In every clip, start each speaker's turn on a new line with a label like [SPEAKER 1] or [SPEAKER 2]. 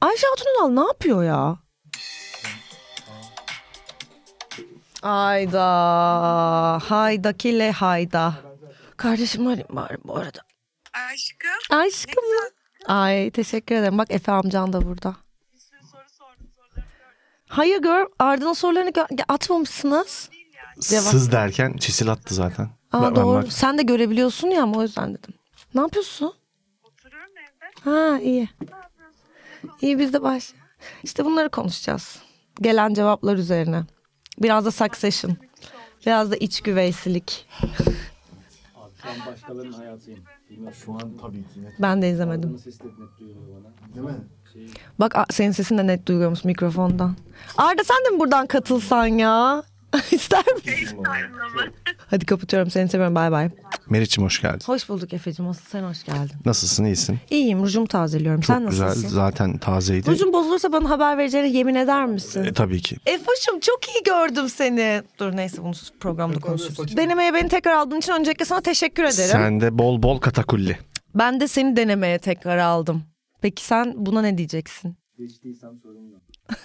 [SPEAKER 1] Ünal ne yapıyor ya? Ayda. Hayda kile hayda. Kardeşim arayayım bari bu arada.
[SPEAKER 2] Aşkım.
[SPEAKER 1] Aşkım. Ay teşekkür ederim. Bak Efe amcan da burada.
[SPEAKER 2] Bir sürü soru sordum soruları gördüm
[SPEAKER 1] Hayır gör Arda'nın sorularını gö- ya atmamışsınız.
[SPEAKER 2] değil yani.
[SPEAKER 1] Devam.
[SPEAKER 3] Sız derken çisil attı zaten.
[SPEAKER 1] Aa,
[SPEAKER 3] Ben- ben
[SPEAKER 1] doğru.
[SPEAKER 3] bak-
[SPEAKER 1] Sen de görebiliyorsun ya ama o yüzden dedim. Ne yapıyorsun?
[SPEAKER 2] Oturuyorum evde.
[SPEAKER 1] Ha iyi.
[SPEAKER 2] Ne yapıyorsun?
[SPEAKER 1] İyi biz de baş. İşte bunları konuşacağız. Gelen cevaplar üzerine. Biraz da succession. Biraz da iç güveysilik.
[SPEAKER 4] Ben başkalarının hayatıyım. Bilmiyorum. Şu an tabii ki net.
[SPEAKER 1] Ben de izlemedim.
[SPEAKER 4] Bunun sesi de net duyuluyor bana.
[SPEAKER 5] Değil mi?
[SPEAKER 1] Bak a- senin sesin de net duyuyormuş mikrofondan. Arda sen de mi buradan katılsan ya? İster misin?
[SPEAKER 2] Anlamadım.
[SPEAKER 1] Hadi kapatıyorum seni seviyorum bay bay.
[SPEAKER 3] Meriç'im hoş geldin.
[SPEAKER 1] Hoş bulduk Efe'cim asıl sen hoş geldin.
[SPEAKER 3] Nasılsın iyisin?
[SPEAKER 1] İyiyim rujumu tazeliyorum sen
[SPEAKER 3] Çok
[SPEAKER 1] nasılsın?
[SPEAKER 3] güzel zaten tazeydi.
[SPEAKER 1] Rujum bozulursa bana haber vereceğine yemin eder misin?
[SPEAKER 3] E, tabii ki.
[SPEAKER 1] Efoş'um çok iyi gördüm seni. Dur neyse bunu programda konuşuruz. Denemeye beni tekrar aldığın için öncelikle sana teşekkür ederim.
[SPEAKER 3] Sen de bol bol katakulli.
[SPEAKER 1] Ben de seni denemeye tekrar aldım. Peki sen buna ne diyeceksin?
[SPEAKER 4] Geçtiysem sorun yok.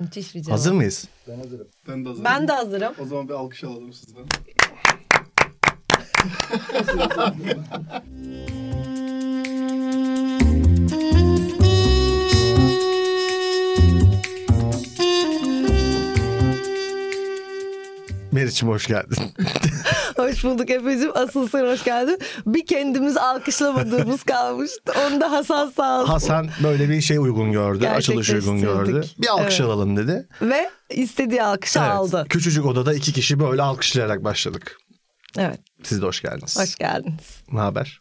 [SPEAKER 1] Müthiş bir cevap.
[SPEAKER 3] Hazır mıyız?
[SPEAKER 4] Ben hazırım.
[SPEAKER 5] Ben de hazırım.
[SPEAKER 1] Ben de hazırım.
[SPEAKER 5] O zaman bir alkış alalım sizden.
[SPEAKER 3] Meriç'im hoş geldin.
[SPEAKER 1] Hoş bulduk Efe'cim. Asıl sen hoş geldin. Bir kendimiz alkışlamadığımız kalmıştı. Onu da Hasan sağ olsun.
[SPEAKER 3] Hasan böyle bir şey uygun gördü. Açılış uygun gördü.
[SPEAKER 1] Gerçekleştirdik.
[SPEAKER 3] Bir alkış
[SPEAKER 1] Evet.
[SPEAKER 3] alalım dedi.
[SPEAKER 1] Ve istediği alkışı
[SPEAKER 3] Evet.
[SPEAKER 1] aldı.
[SPEAKER 3] Küçücük odada iki kişi böyle alkışlayarak başladık.
[SPEAKER 1] Evet.
[SPEAKER 3] Siz de hoş geldiniz.
[SPEAKER 1] Hoş geldiniz.
[SPEAKER 3] Ne haber?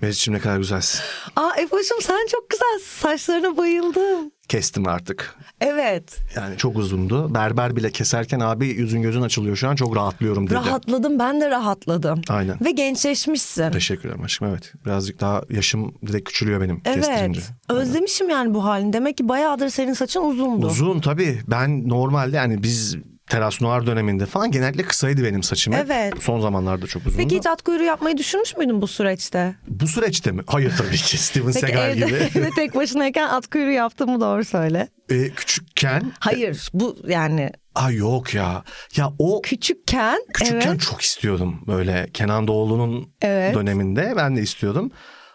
[SPEAKER 3] Meriç'im ne kadar güzelsin.
[SPEAKER 1] Aa Efe'cim sen çok güzelsin. Saçlarına bayıldım.
[SPEAKER 3] Kestim artık.
[SPEAKER 1] Evet.
[SPEAKER 3] Yani çok uzundu. Berber bile keserken abi yüzün gözün açılıyor şu an çok rahatlıyorum dedi.
[SPEAKER 1] Rahatladım ben de rahatladım.
[SPEAKER 3] Aynen.
[SPEAKER 1] Ve gençleşmişsin.
[SPEAKER 3] Teşekkür ederim aşkım evet. Birazcık daha yaşım direkt küçülüyor benim kestirince.
[SPEAKER 1] Evet. Özlemişim yani bu halini. Demek ki bayağıdır senin saçın uzundu.
[SPEAKER 3] Uzun tabii. Ben normalde yani biz teras noir döneminde falan genellikle kısaydı benim saçım. hep.
[SPEAKER 1] Evet.
[SPEAKER 3] Son zamanlarda çok uzundu.
[SPEAKER 1] Peki hiç at kuyruğu yapmayı düşünmüş müydün bu süreçte?
[SPEAKER 3] Bu süreçte mi? Hayır tabii ki. Steven
[SPEAKER 1] Peki
[SPEAKER 3] Seagal
[SPEAKER 1] evde,
[SPEAKER 3] gibi.
[SPEAKER 1] evde tek başınayken at kuyruğu yaptığımı doğru söyle.
[SPEAKER 3] Ee, küçükken.
[SPEAKER 1] Hayır bu yani
[SPEAKER 3] Ay yok ya. Ya o
[SPEAKER 1] küçükken.
[SPEAKER 3] Küçükken
[SPEAKER 1] evet.
[SPEAKER 3] çok istiyordum böyle Kenan Doğulu'nun
[SPEAKER 1] Evet.
[SPEAKER 3] döneminde ben de istiyordum.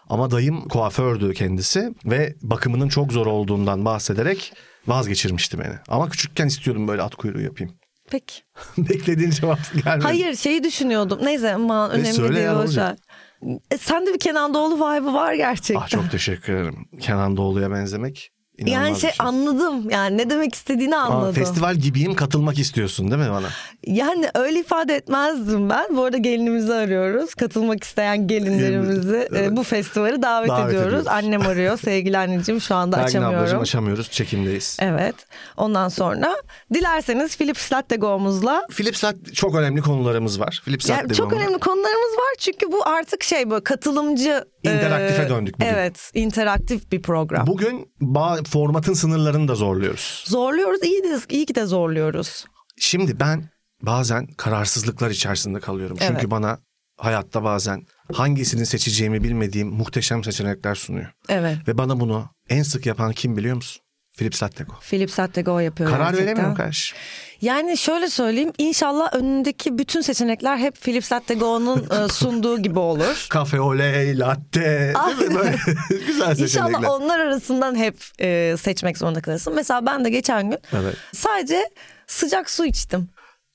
[SPEAKER 3] Ama dayım kuafördü kendisi ve bakımının çok zor olduğundan bahsederek vazgeçirmişti beni. Ama küçükken istiyordum böyle at kuyruğu yapayım.
[SPEAKER 1] Peki.
[SPEAKER 3] Beklediğin cevap gelmedi.
[SPEAKER 1] Hayır şeyi düşünüyordum. Neyse ama önemli
[SPEAKER 3] E, söyle
[SPEAKER 1] değil.
[SPEAKER 3] ya, ne
[SPEAKER 1] boş
[SPEAKER 3] olacak?
[SPEAKER 1] ver. E, sende bir Kenan Doğulu vibe'ı var gerçekten.
[SPEAKER 3] Ah çok teşekkür ederim. Kenan Doğulu'ya benzemek inanılmaz
[SPEAKER 1] yani şey,
[SPEAKER 3] bir şey.
[SPEAKER 1] anladım. Yani ne demek istediğini
[SPEAKER 3] Aa,
[SPEAKER 1] anladım.
[SPEAKER 3] festival gibiyim katılmak istiyorsun değil mi bana?
[SPEAKER 1] Yani öyle ifade etmezdim ben. Bu arada gelinimizi arıyoruz. Katılmak isteyen gelinlerimizi
[SPEAKER 3] Gelin-
[SPEAKER 1] e, bu festivale davet,
[SPEAKER 3] Davet
[SPEAKER 1] ediyoruz.
[SPEAKER 3] ediyoruz.
[SPEAKER 1] Annem arıyor. Sevgili anneciğim şu anda
[SPEAKER 3] Belgin ablacığım
[SPEAKER 1] açamıyorum.
[SPEAKER 3] açamıyoruz çekimdeyiz.
[SPEAKER 1] Evet. Ondan sonra dilerseniz Philips Latte Go'muzla
[SPEAKER 3] Philips Latte- çok önemli konularımız var. Philips
[SPEAKER 1] yani
[SPEAKER 3] Latte
[SPEAKER 1] çok
[SPEAKER 3] konuları-
[SPEAKER 1] önemli konularımız var çünkü bu artık şey böyle katılımcı e,
[SPEAKER 3] İnteraktife döndük bugün.
[SPEAKER 1] Evet, interaktif bir program.
[SPEAKER 3] Bugün ba- formatın sınırlarını da zorluyoruz.
[SPEAKER 1] Zorluyoruz. iyi de iyi ki de zorluyoruz.
[SPEAKER 3] Şimdi ben bazen kararsızlıklar içerisinde kalıyorum. Çünkü
[SPEAKER 1] Evet.
[SPEAKER 3] bana hayatta bazen hangisini seçeceğimi bilmediğim muhteşem seçenekler sunuyor.
[SPEAKER 1] Evet.
[SPEAKER 3] Ve bana bunu en sık yapan kim biliyor musun? Philips Lattego.
[SPEAKER 1] Philips Latte Go yapıyor.
[SPEAKER 3] Karar
[SPEAKER 1] gerçekten.
[SPEAKER 3] veremiyorum kardeş.
[SPEAKER 1] Yani şöyle söyleyeyim inşallah önündeki bütün seçenekler hep Philips Latte Go'nun e, sunduğu gibi olur.
[SPEAKER 3] Kafe oley, latte. Değil mi? Böyle güzel seçenekler.
[SPEAKER 1] Ah. İnşallah onlar arasından hep e, seçmek zorunda kalırsın. Mesela ben de geçen gün
[SPEAKER 3] Evet.
[SPEAKER 1] sadece sıcak su içtim.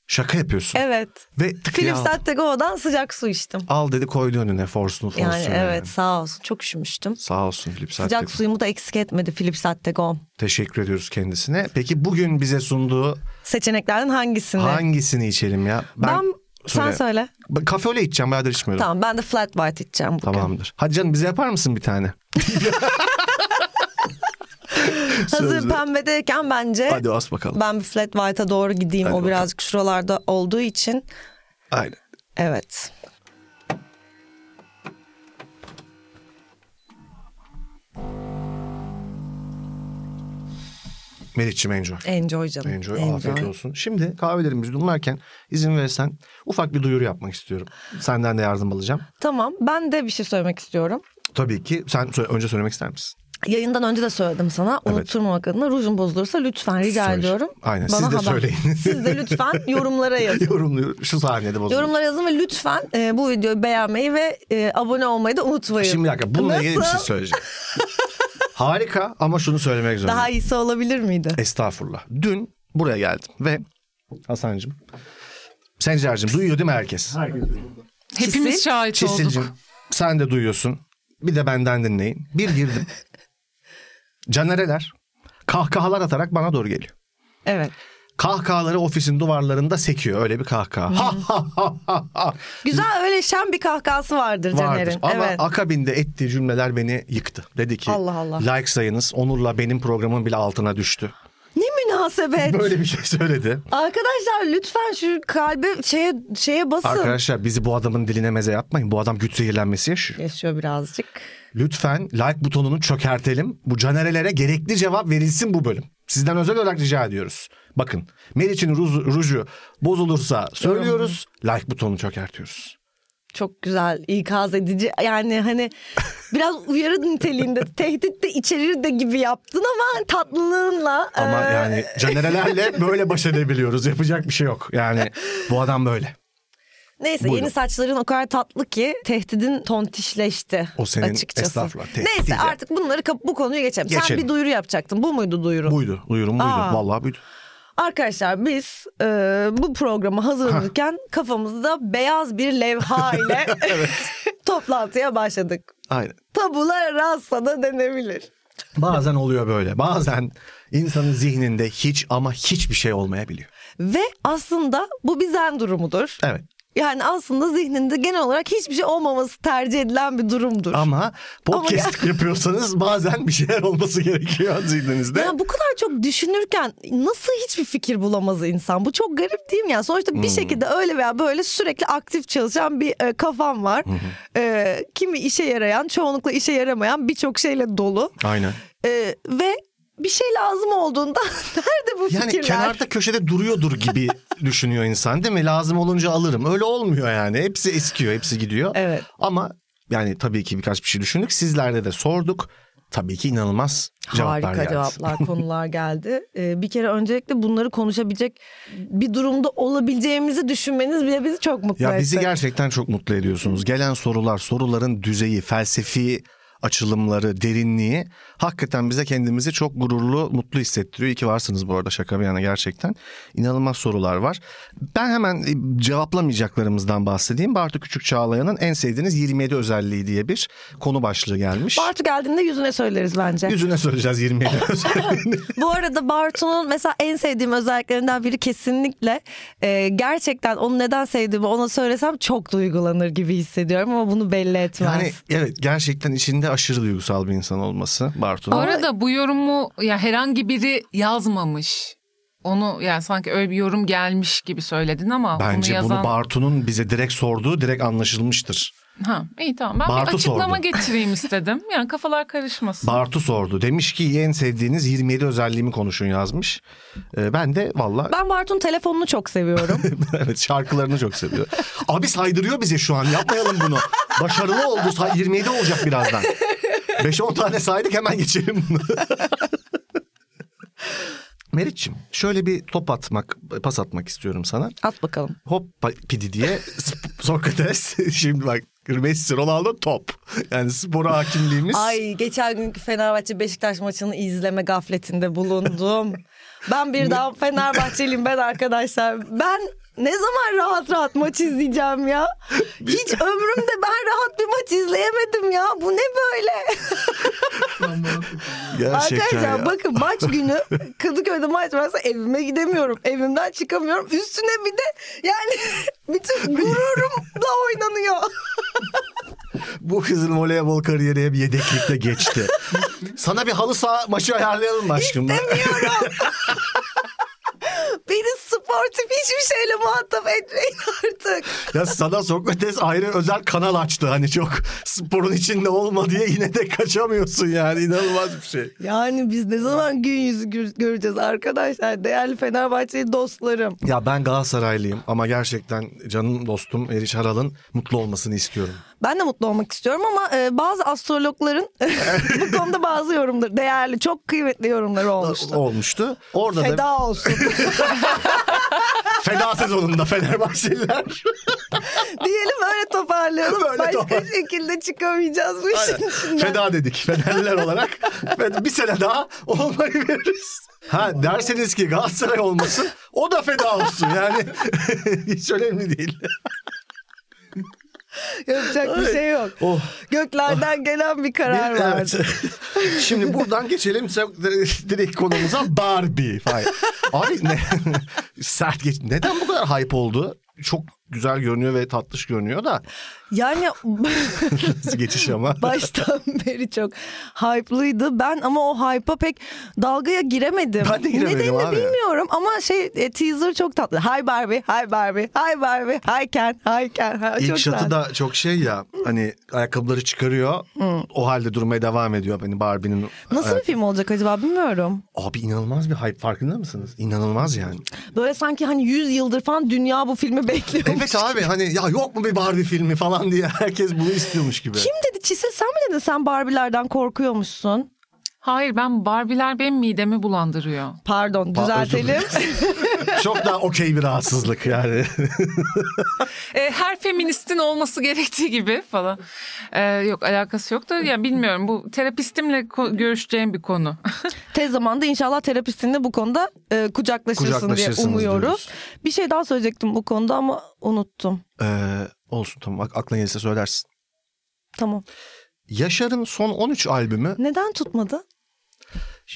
[SPEAKER 3] Şaka yapıyorsun.
[SPEAKER 1] Evet.
[SPEAKER 3] Ve tık diye
[SPEAKER 1] Philips
[SPEAKER 3] al.
[SPEAKER 1] Latte Go'dan sıcak su içtim.
[SPEAKER 3] Al dedi koydu önüne forsunu forsunu.
[SPEAKER 1] Yani evet sağ olsun çok üşümüştüm.
[SPEAKER 3] Sağ olsun Philips Lattego.
[SPEAKER 1] Sıcak suyumu da eksik etmedi Philips Latte Go.
[SPEAKER 3] Teşekkür ediyoruz kendisine. Peki bugün bize sunduğu
[SPEAKER 1] Seçeneklerden hangisini?
[SPEAKER 3] hangisini içelim ya?
[SPEAKER 1] Ben- Sen söyle.
[SPEAKER 3] Ben Kafe oley içeceğim bayağıdır içmiyorum.
[SPEAKER 1] Tamam ben de flat white içeceğim bugün.
[SPEAKER 3] Tamamdır. Hadi canım bize yapar mısın bir tane?
[SPEAKER 1] Hazır
[SPEAKER 3] Sözde.
[SPEAKER 1] pembedeyken bence
[SPEAKER 3] Hadi as bakalım.
[SPEAKER 1] ben bir flat white'a doğru gideyim.
[SPEAKER 3] Hadi
[SPEAKER 1] o birazcık şuralarda olduğu için.
[SPEAKER 3] Aynen.
[SPEAKER 1] Evet.
[SPEAKER 3] Meriç'cim enjoy.
[SPEAKER 1] Enjoy canım.
[SPEAKER 3] Enjoy. Afiyet olsun. Şimdi kahvelerimizi yudumlarken izin verirsen ufak bir duyuru yapmak istiyorum. Senden de yardım alacağım.
[SPEAKER 1] Tamam ben de bir şey söylemek istiyorum.
[SPEAKER 3] Tabii ki sen sö- önce söylemek ister misin?
[SPEAKER 1] Yayından önce de söyledim sana.
[SPEAKER 3] Evet.
[SPEAKER 1] Unutturmamak adına rujun bozulursa lütfen rica
[SPEAKER 3] Söyle.
[SPEAKER 1] ediyorum.
[SPEAKER 3] Aynen, siz de söyleyin.
[SPEAKER 1] Siz de lütfen yorumlara yazın.
[SPEAKER 3] Yorumluyor. Şu sahnede bozuldu.
[SPEAKER 1] Yorumlara yazın ve lütfen e, bu videoyu beğenmeyi ve e, abone olmayı da unutmayın.
[SPEAKER 3] Şimdi bir dakika bununla ilgili bir şey
[SPEAKER 1] Nasıl?
[SPEAKER 3] söyleyeceğim. Harika ama şunu söylemek zorundayım.
[SPEAKER 1] Daha iyisi olabilir miydi?
[SPEAKER 3] E, Estağfurullah. Dün buraya geldim ve Hasan'cığım, Sencer'cığım duyuyor değil mi herkes?
[SPEAKER 4] Herkes
[SPEAKER 5] Hepimiz
[SPEAKER 1] Çisil-
[SPEAKER 5] şahit
[SPEAKER 3] Çisil'cim
[SPEAKER 5] olduk.
[SPEAKER 3] sen de duyuyorsun. Bir de benden dinleyin. Bir girdim. Canereler kahkahalar atarak bana doğru geliyor.
[SPEAKER 1] Evet.
[SPEAKER 3] Kahkahaları ofisin duvarlarında sekiyor öyle bir kahkaha. Ha ha ha ha ha
[SPEAKER 1] Güzel öyle şen bir kahkahası vardır,
[SPEAKER 3] vardır.
[SPEAKER 1] Caner'in.
[SPEAKER 3] Ama
[SPEAKER 1] evet.
[SPEAKER 3] akabinde ettiği cümleler beni yıktı. Dedi ki
[SPEAKER 1] Allah Allah.
[SPEAKER 3] like sayınız Onur'la benim programın bile altına düştü.
[SPEAKER 1] Ne münasebet.
[SPEAKER 3] Böyle bir şey söyledi.
[SPEAKER 1] Arkadaşlar lütfen şu kalbe şeye şeye basın.
[SPEAKER 3] Arkadaşlar bizi bu adamın diline meze yapmayın. Bu adam güç zehirlenmesi yaşıyor.
[SPEAKER 1] Yaşıyor birazcık.
[SPEAKER 3] Lütfen like butonunu çökertelim. Bu canerelere gerekli cevap verilsin bu bölüm. Sizden özel olarak rica ediyoruz. Bakın Meriç'in ruzu- ruju bozulursa söylüyoruz. Like butonunu çökertiyoruz.
[SPEAKER 1] çok güzel ikaz edici yani hani biraz uyarı niteliğinde tehdit de içerir de gibi yaptın ama tatlılığınla
[SPEAKER 3] Ama
[SPEAKER 1] e,
[SPEAKER 3] yani canerelerle böyle baş edebiliyoruz. Yapacak bir şey yok. Yani bu adam böyle.
[SPEAKER 1] neyse
[SPEAKER 3] Buyurun.
[SPEAKER 1] yeni saçların o kadar tatlı ki tehdidin tontişleşti
[SPEAKER 3] O senin
[SPEAKER 1] açıkçası.
[SPEAKER 3] estağfurullah, tehdit
[SPEAKER 1] neyse
[SPEAKER 3] değil yani.
[SPEAKER 1] artık bunları kap- bu konuyu geçelim. Sen
[SPEAKER 3] Geçelim.
[SPEAKER 1] bir duyuru yapacaktın. Bu muydu duyuru?
[SPEAKER 3] Buydu. Duyurum buydu.
[SPEAKER 1] Aa.
[SPEAKER 3] Vallahi buydu.
[SPEAKER 1] Arkadaşlar biz e, bu programa hazırlanırken kafamızda beyaz bir levha ile toplantıya başladık.
[SPEAKER 3] Aynen.
[SPEAKER 1] Tabula rasa da denebilir.
[SPEAKER 3] Bazen oluyor böyle. Bazen insanın zihninde hiç ama hiçbir şey olmayabiliyor.
[SPEAKER 1] Ve aslında bu bir zen durumudur.
[SPEAKER 3] Evet.
[SPEAKER 1] Yani aslında zihninde genel olarak hiçbir şey olmaması tercih edilen bir durumdur.
[SPEAKER 3] Ama podcast yapıyorsanız bazen bir şeyler olması gerekiyor zihninizde.
[SPEAKER 1] Yani bu kadar çok düşünürken nasıl hiçbir fikir bulamaz insan? Bu çok garip değil mi? Yani sonuçta
[SPEAKER 3] Hmm.
[SPEAKER 1] bir şekilde öyle veya böyle sürekli aktif çalışan bir e, kafam var. E, kimi işe yarayan, çoğunlukla işe yaramayan birçok şeyle dolu.
[SPEAKER 3] Aynen.
[SPEAKER 1] E, ve bir şey lazım olduğunda nerede bu
[SPEAKER 3] Yani
[SPEAKER 1] fikirler?
[SPEAKER 3] kenarda köşede duruyordur gibi düşünüyor insan değil mi? Lazım olunca alırım. Öyle olmuyor yani. Hepsi eskiyor, hepsi gidiyor.
[SPEAKER 1] Evet.
[SPEAKER 3] Ama yani tabii ki birkaç bir şey düşündük. Sizlerde de sorduk. Tabii ki inanılmaz cevaplar
[SPEAKER 1] Harika
[SPEAKER 3] geldi.
[SPEAKER 1] cevaplar, konular geldi. Ee, bir kere öncelikle bunları konuşabilecek bir durumda olabileceğimizi düşünmeniz bile bizi çok mutlu
[SPEAKER 3] Ya
[SPEAKER 1] etti.
[SPEAKER 3] bizi gerçekten çok mutlu ediyorsunuz. Gelen sorular, soruların düzeyi, felsefi açılımları, derinliği hakikaten bize kendimizi çok gururlu, mutlu hissettiriyor. İyi ki varsınız bu arada şaka bir yana gerçekten. İnanılmaz sorular var. Ben hemen e, cevaplamayacaklarımızdan bahsedeyim. Bartu Küçük Çağlayan'ın en sevdiğiniz 27 özelliği diye bir konu başlığı gelmiş.
[SPEAKER 1] Bartu geldiğinde yüzüne söyleriz bence.
[SPEAKER 3] Yüzüne söyleyeceğiz 27 özelliğini.
[SPEAKER 1] Bu arada Bartu'nun mesela en sevdiğim özelliklerinden biri kesinlikle e, gerçekten onu neden sevdiğimi ona söylesem çok duygulanır gibi hissediyorum ama bunu belli etmez.
[SPEAKER 3] Yani evet gerçekten içinde aşırı duygusal bir insan olması
[SPEAKER 5] Bu
[SPEAKER 3] Bartu'nun.
[SPEAKER 5] arada bu yorumu ya herhangi biri yazmamış. Onu yani sanki öyle bir yorum gelmiş gibi söyledin ama
[SPEAKER 3] Bence
[SPEAKER 5] onu yazan...
[SPEAKER 3] bunu Bartu'nun bize direkt sorduğu direkt anlaşılmıştır.
[SPEAKER 5] Ha, iyi tamam. Ben
[SPEAKER 3] Bartu
[SPEAKER 5] bir açıklama
[SPEAKER 3] sordu.
[SPEAKER 5] getireyim istedim. Yani kafalar karışmasın.
[SPEAKER 3] Bartu sordu. Demiş ki en sevdiğiniz 27 özelliğimi konuşun yazmış. Ee, ben de valla
[SPEAKER 1] Ben Bartu'nun telefonunu çok seviyorum.
[SPEAKER 3] evet şarkılarını çok seviyorum. Abi saydırıyor bize şu an yapmayalım bunu. Başarılı oldu Sa- 27 olacak birazdan. 5-10 tane saydık hemen geçelim bunu. Meriç'im şöyle bir top atmak, pas atmak istiyorum sana.
[SPEAKER 1] At bakalım.
[SPEAKER 3] Hop pa- pidi diye Sp- Sokrates. Şimdi bak Messi Ronaldo top. Yani spora hakimliğimiz.
[SPEAKER 1] Ay geçen günkü Fenerbahçe Beşiktaş maçını izleme gafletinde bulundum. ben bir daha Fenerbahçeliyim ben arkadaşlar. Ben ne zaman rahat rahat maç izleyeceğim ya? Hiç ömrümde ben rahat bir maç izleyemedim ya. Bu ne böyle?
[SPEAKER 3] Gerçekten
[SPEAKER 1] Arkadaşlar
[SPEAKER 3] ya.
[SPEAKER 1] bakın maç günü Kadıköy'de maç varsa evime gidemiyorum. Evimden çıkamıyorum. Üstüne bir de yani bütün gururumla oynanıyor.
[SPEAKER 3] Bu kızın voleybol kariyeri hep yedeklikte geçti. Sana bir halı saha maçı ayarlayalım mı aşkım?
[SPEAKER 1] Beni sportif hiçbir şeyle muhatap etmeyin artık. artık.
[SPEAKER 3] Ya sana Sokrates ayrı özel kanal açtı hani çok sporun içinde olma diye yine de kaçamıyorsun yani inanılmaz bir şey.
[SPEAKER 1] Yani biz ne zaman gün yüzü gör- göreceğiz arkadaşlar? Değerli Fenerbahçeli dostlarım.
[SPEAKER 3] Ya ben Galatasaraylıyım ama gerçekten canım dostum Eriş Haral'ın mutlu olmasını istiyorum.
[SPEAKER 1] Ben de mutlu olmak istiyorum ama e, bazı astrologların bu konuda bazı yorumları, değerli, çok kıymetli yorumları olmuştu.
[SPEAKER 3] Olmuştu. Orada da
[SPEAKER 1] Feda olsun
[SPEAKER 3] feda sezonunda Fenerbahçeliler.
[SPEAKER 1] diyelim öyle toparlayalım.
[SPEAKER 3] Böyle
[SPEAKER 1] Başka
[SPEAKER 3] toparlayalım.
[SPEAKER 1] şekilde çıkamayacağız bu işin içinden.
[SPEAKER 3] feda dedik Fenerliler olarak. Ve bir sene daha olmayı veririz. Ha derseniz ki Galatasaray olmasın o da feda olsun yani hiç önemli değil.
[SPEAKER 1] Yapacak bir şey yok.
[SPEAKER 3] Oh.
[SPEAKER 1] Göklerden gelen bir
[SPEAKER 3] Bir-
[SPEAKER 1] karar var.
[SPEAKER 3] evet. Şimdi buradan geçelim se- direkt konumuza Barbie. Hayır. Abi ne sert geç. Neden bu kadar hype oldu? Çok güzel görünüyor ve tatlış görünüyor da
[SPEAKER 1] Yani
[SPEAKER 3] geçiş ama.
[SPEAKER 1] baştan beri çok hype'lıydı. Ben ama o hype'a pek dalgaya giremedim.
[SPEAKER 3] Ben de giremedim
[SPEAKER 1] Nedenini
[SPEAKER 3] abi.
[SPEAKER 1] bilmiyorum ama şey e, teaser çok tatlı. Hi Barbie, hi Barbie, hi Barbie, hi Ken, hi Ken. Ha,
[SPEAKER 3] İlk
[SPEAKER 1] çok
[SPEAKER 3] şatı
[SPEAKER 1] tatlı.
[SPEAKER 3] da çok şey ya hani ayakkabıları çıkarıyor. O halde durmaya devam ediyor hani Barbie'nin.
[SPEAKER 1] Nasıl bir
[SPEAKER 3] ayak-
[SPEAKER 1] film olacak acaba bilmiyorum.
[SPEAKER 3] Abi inanılmaz bir hype farkında mısınız? İnanılmaz yani.
[SPEAKER 1] Böyle sanki hani 100 yıldır falan dünya bu filmi bekliyor.
[SPEAKER 3] Evet abi hani ya yok mu bir Barbie filmi falan diye herkes bunu istiyormuş gibi.
[SPEAKER 1] Kim dedi Çisil sen mi dedin sen Barbie'lerden korkuyormuşsun?
[SPEAKER 5] Hayır ben Barbiler benim midemi bulandırıyor.
[SPEAKER 1] Pardon
[SPEAKER 3] Ba- özür
[SPEAKER 1] düzeltelim.
[SPEAKER 3] Çok daha okey bir rahatsızlık yani.
[SPEAKER 5] E, her feministin olması gerektiği gibi falan. E, yok alakası yok da yani bilmiyorum bu terapistimle ko- görüşeceğim bir konu.
[SPEAKER 1] Tez zamanda inşallah terapistinle bu konuda e, kucaklaşırsın diye
[SPEAKER 3] Kucaklaşırsınız
[SPEAKER 1] umuyoruz.
[SPEAKER 3] diyoruz.
[SPEAKER 1] Bir şey daha söyleyecektim bu konuda ama unuttum.
[SPEAKER 3] Ee, olsun tamam Ak- aklına gelirse söylersin.
[SPEAKER 1] Tamam.
[SPEAKER 3] Yaşar'ın son 13 albümü.
[SPEAKER 1] Neden tutmadı?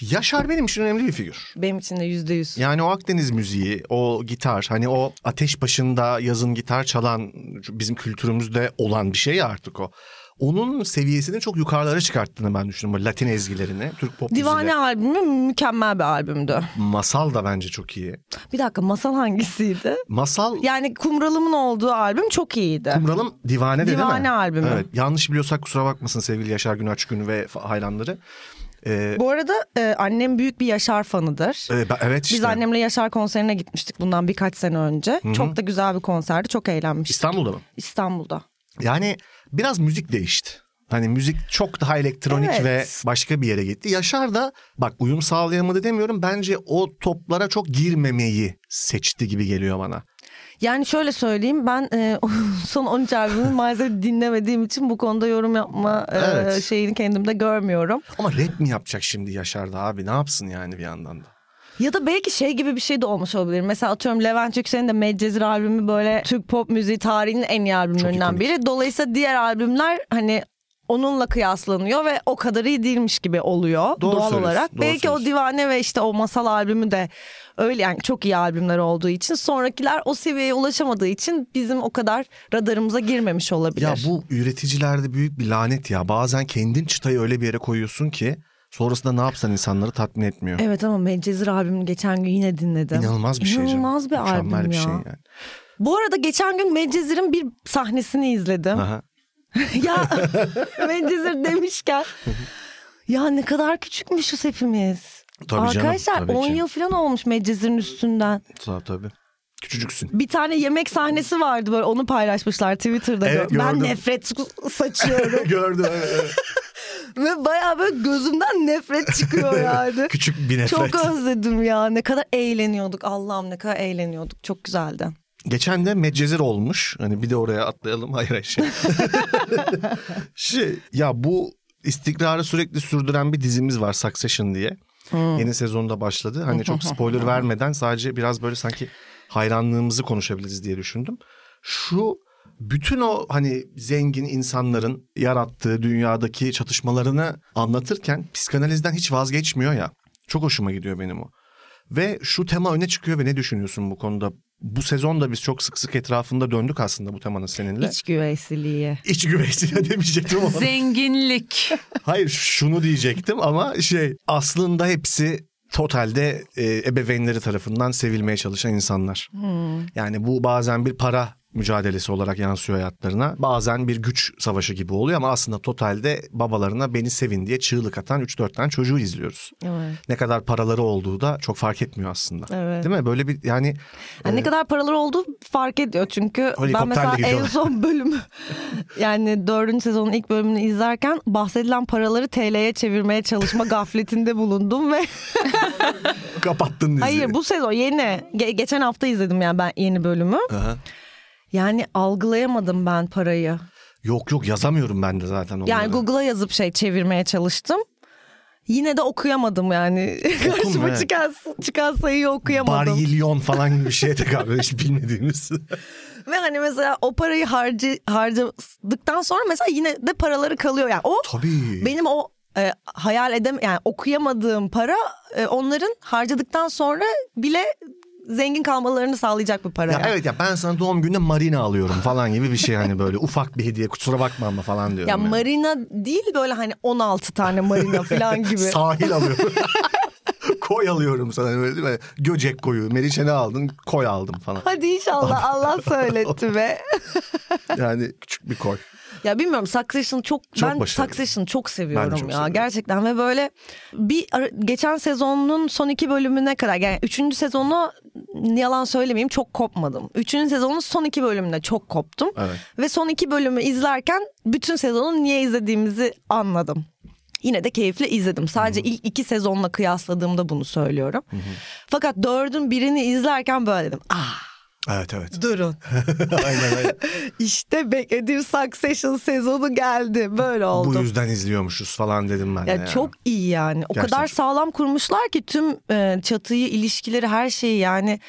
[SPEAKER 3] Yaşar benim için önemli bir figür.
[SPEAKER 1] Benim için de yüzde yüz.
[SPEAKER 3] Yani o Akdeniz müziği, o gitar hani o ateş başında yazın gitar çalan bizim kültürümüzde olan bir şey ya artık o. Onun seviyesini çok yukarılara çıkarttığını ben düşünüyorum. Bu Latin ezgilerini, Türk pop
[SPEAKER 1] Divane
[SPEAKER 3] müziğiyle.
[SPEAKER 1] albümü mükemmel bir albümdü.
[SPEAKER 3] Masal da bence çok iyi.
[SPEAKER 1] Bir dakika masal hangisiydi?
[SPEAKER 3] Masal
[SPEAKER 1] Yani Kumralım'ın olduğu albüm çok iyiydi.
[SPEAKER 3] Kumralım divane de değil mi?
[SPEAKER 1] Divane albümü.
[SPEAKER 3] Evet. Yanlış biliyorsak kusura bakmasın sevgili Yaşar Günaç Gün ve fa- hayranları. Ee,
[SPEAKER 1] Bu arada e, annem büyük bir Yaşar fanıdır.
[SPEAKER 3] e, ben- evet işte.
[SPEAKER 1] Biz annemle Yaşar konserine gitmiştik bundan birkaç sene önce. Çok da güzel bir konserdi. Çok eğlenmiştik
[SPEAKER 3] İstanbul'da mı?
[SPEAKER 1] İstanbul'da.
[SPEAKER 3] Yani biraz müzik değişti. Hani müzik çok daha elektronik
[SPEAKER 1] Evet.
[SPEAKER 3] ve başka bir yere gitti. Yaşar da bak uyum sağlayamadı demiyorum. Bence o toplara çok girmemeyi seçti gibi geliyor bana.
[SPEAKER 1] Yani şöyle söyleyeyim ben e, son 13 albümü maalesef dinlemediğim için bu konuda yorum yapma e,
[SPEAKER 3] Evet.
[SPEAKER 1] şeyini kendimde görmüyorum.
[SPEAKER 3] Ama rap mi yapacak şimdi Yaşar da abi ne yapsın yani bir yandan da.
[SPEAKER 1] Ya da belki şey gibi bir şey de olmuş olabilir. Mesela atıyorum Levent Yüksel'in de Medcezir albümü böyle Türk pop müziği tarihinin en iyi albümlerinden
[SPEAKER 3] ikonik.
[SPEAKER 1] biri. Dolayısıyla diğer albümler hani onunla kıyaslanıyor ve o kadar iyi değilmiş gibi oluyor
[SPEAKER 3] Doğru
[SPEAKER 1] doğal
[SPEAKER 3] söylüyorsun,
[SPEAKER 1] olarak.
[SPEAKER 3] doğru
[SPEAKER 1] belki o
[SPEAKER 3] söylüyorsun.
[SPEAKER 1] divane ve işte o masal albümü de öyle yani çok iyi albümler olduğu için sonrakiler o seviyeye ulaşamadığı için bizim o kadar radarımıza girmemiş olabilir.
[SPEAKER 3] Ya bu üreticilerde büyük bir lanet ya. Bazen kendin çıtayı öyle bir yere koyuyorsun ki sonrasında ne yapsan insanları tatmin etmiyor.
[SPEAKER 1] Evet ama Medcezir albümünü geçen gün yine dinledim.
[SPEAKER 3] İnanılmaz bir şey canım.
[SPEAKER 1] İnanılmaz bir
[SPEAKER 3] Mükemmel
[SPEAKER 1] albüm
[SPEAKER 3] bir
[SPEAKER 1] ya.
[SPEAKER 3] şey yani.
[SPEAKER 1] Bu arada geçen gün Medcezir'in bir sahnesini izledim.
[SPEAKER 3] Aha.
[SPEAKER 1] ya Medcezir demişken. ya ne kadar küçükmüşüz hepimiz.
[SPEAKER 3] Tabii canım,
[SPEAKER 1] Arkadaşlar
[SPEAKER 3] tabii
[SPEAKER 1] 10
[SPEAKER 3] ki.
[SPEAKER 1] yıl falan olmuş Medcezir'in üstünden.
[SPEAKER 3] Tabii tabii. Küçücüksün.
[SPEAKER 1] Bir tane yemek sahnesi vardı böyle onu paylaşmışlar Twitter'da.
[SPEAKER 3] Evet,
[SPEAKER 1] gör- ben
[SPEAKER 3] gördüm.
[SPEAKER 1] nefret saçıyorum
[SPEAKER 3] Gördüm evet, evet.
[SPEAKER 1] ve bayağı böyle gözümden nefret çıkıyor yani.
[SPEAKER 3] Küçük bir nefret.
[SPEAKER 1] Çok özledim ya ne kadar eğleniyorduk Allah'ım ne kadar eğleniyorduk çok güzeldi.
[SPEAKER 3] Geçen de Medcezir olmuş. Hani bir de oraya atlayalım. Hayır hayır şey. şey ya bu istikrarı sürekli sürdüren bir dizimiz var Succession diye. Yeni sezonda başladı. Hani çok spoiler vermeden sadece biraz böyle sanki hayranlığımızı konuşabiliriz diye düşündüm. Şu bütün o hani zengin insanların yarattığı dünyadaki çatışmalarını anlatırken psikanalizden hiç vazgeçmiyor ya. Çok hoşuma gidiyor benim o. Ve şu tema öne çıkıyor ve ne düşünüyorsun bu konuda? Bu sezonda biz çok sık sık etrafında döndük aslında bu temanın seninle.
[SPEAKER 1] İç güveysiliği.
[SPEAKER 3] İç güveysiyle demeyecektim ama.
[SPEAKER 5] Zenginlik.
[SPEAKER 3] Hayır şunu diyecektim ama şey aslında hepsi totalde
[SPEAKER 1] Hmm.
[SPEAKER 3] e, ebeveynleri tarafından sevilmeye çalışan insanlar. Yani bu bazen bir para mücadelesi olarak yansıyor hayatlarına. Bazen bir güç savaşı gibi oluyor ama aslında totalde babalarına beni sevin diye çığlık atan 3-4 tane çocuğu izliyoruz.
[SPEAKER 1] Evet.
[SPEAKER 3] Ne kadar paraları olduğu da çok fark etmiyor aslında.
[SPEAKER 1] Evet.
[SPEAKER 3] Değil mi? Böyle bir yani
[SPEAKER 1] Yani ne kadar paraları olduğu fark ediyor çünkü ben
[SPEAKER 3] Helikopterle
[SPEAKER 1] mesela en
[SPEAKER 3] gidiyorlar.
[SPEAKER 1] son bölümü yani dördüncü sezonun ilk bölümünü izlerken bahsedilen paraları TL'ye çevirmeye çalışma gafletinde bulundum ve
[SPEAKER 3] kapattın diziyi.
[SPEAKER 1] hayır bu sezon yeni Ge- geçen hafta izledim yani ben yeni bölümü
[SPEAKER 3] Aha.
[SPEAKER 1] yani algılayamadım ben parayı
[SPEAKER 3] Yok yok yazamıyorum ben de zaten onları.
[SPEAKER 1] yani Google'a yazıp şey çevirmeye çalıştım yine de okuyamadım yani karşıma
[SPEAKER 3] evet.
[SPEAKER 1] çıkan, çıkan sayıyı okuyamadım.
[SPEAKER 3] Barilyon falan gibi bir şeye tekabül hiç bilmediğimiz.
[SPEAKER 1] Ve hani mesela o parayı harcı, harcadıktan sonra mesela yine de paraları kalıyor. Yani o
[SPEAKER 3] Tabii.
[SPEAKER 1] benim o e, hayal edem yani okuyamadığım para e, onların harcadıktan sonra bile zengin kalmalarını sağlayacak bir para.
[SPEAKER 3] Ya
[SPEAKER 1] yani.
[SPEAKER 3] Hani evet ya ben sana doğum gününe marina alıyorum falan gibi bir şey hani böyle ufak bir hediye kusura bakma ama falan diyorum.
[SPEAKER 1] Ya
[SPEAKER 3] yani.
[SPEAKER 1] marina değil böyle hani 16 tane marina falan gibi.
[SPEAKER 3] Sahil alıyorum. koy alıyorum sana böyle değil mi? Göcek koyu. Meriç'e ne aldın? Koy aldım falan.
[SPEAKER 1] Hadi inşallah Allah söyletti be.
[SPEAKER 3] Yani küçük bir koy.
[SPEAKER 1] Ya bilmiyorum Succession çok,
[SPEAKER 3] Çok
[SPEAKER 1] ben
[SPEAKER 3] başarılı.
[SPEAKER 1] Succession'ı çok seviyorum
[SPEAKER 3] Ben de çok
[SPEAKER 1] ya
[SPEAKER 3] seviyorum.
[SPEAKER 1] gerçekten ve böyle bir ara- geçen sezonun son iki bölümüne kadar yani üçüncü sezonu yalan söylemeyeyim çok kopmadım. Üçüncü sezonun son iki bölümüne çok koptum
[SPEAKER 3] Evet.
[SPEAKER 1] ve son iki bölümü izlerken bütün sezonu niye izlediğimizi anladım. Yine de keyifle izledim. Sadece ilk iki sezonla kıyasladığımda bunu söylüyorum. Fakat dördün birini izlerken böyle dedim. Ah
[SPEAKER 3] Evet evet.
[SPEAKER 1] durun
[SPEAKER 3] aynen aynen.
[SPEAKER 1] işte beklediğim Succession sezonu geldi. Böyle oldu.
[SPEAKER 3] Bu yüzden izliyormuşuz falan dedim ben de.
[SPEAKER 1] Ya
[SPEAKER 3] Hani yani.
[SPEAKER 1] çok iyi yani. O
[SPEAKER 3] Gerçekten
[SPEAKER 1] kadar
[SPEAKER 3] çok-
[SPEAKER 1] sağlam kurmuşlar ki tüm e, çatıyı, ilişkileri, her şeyi yani.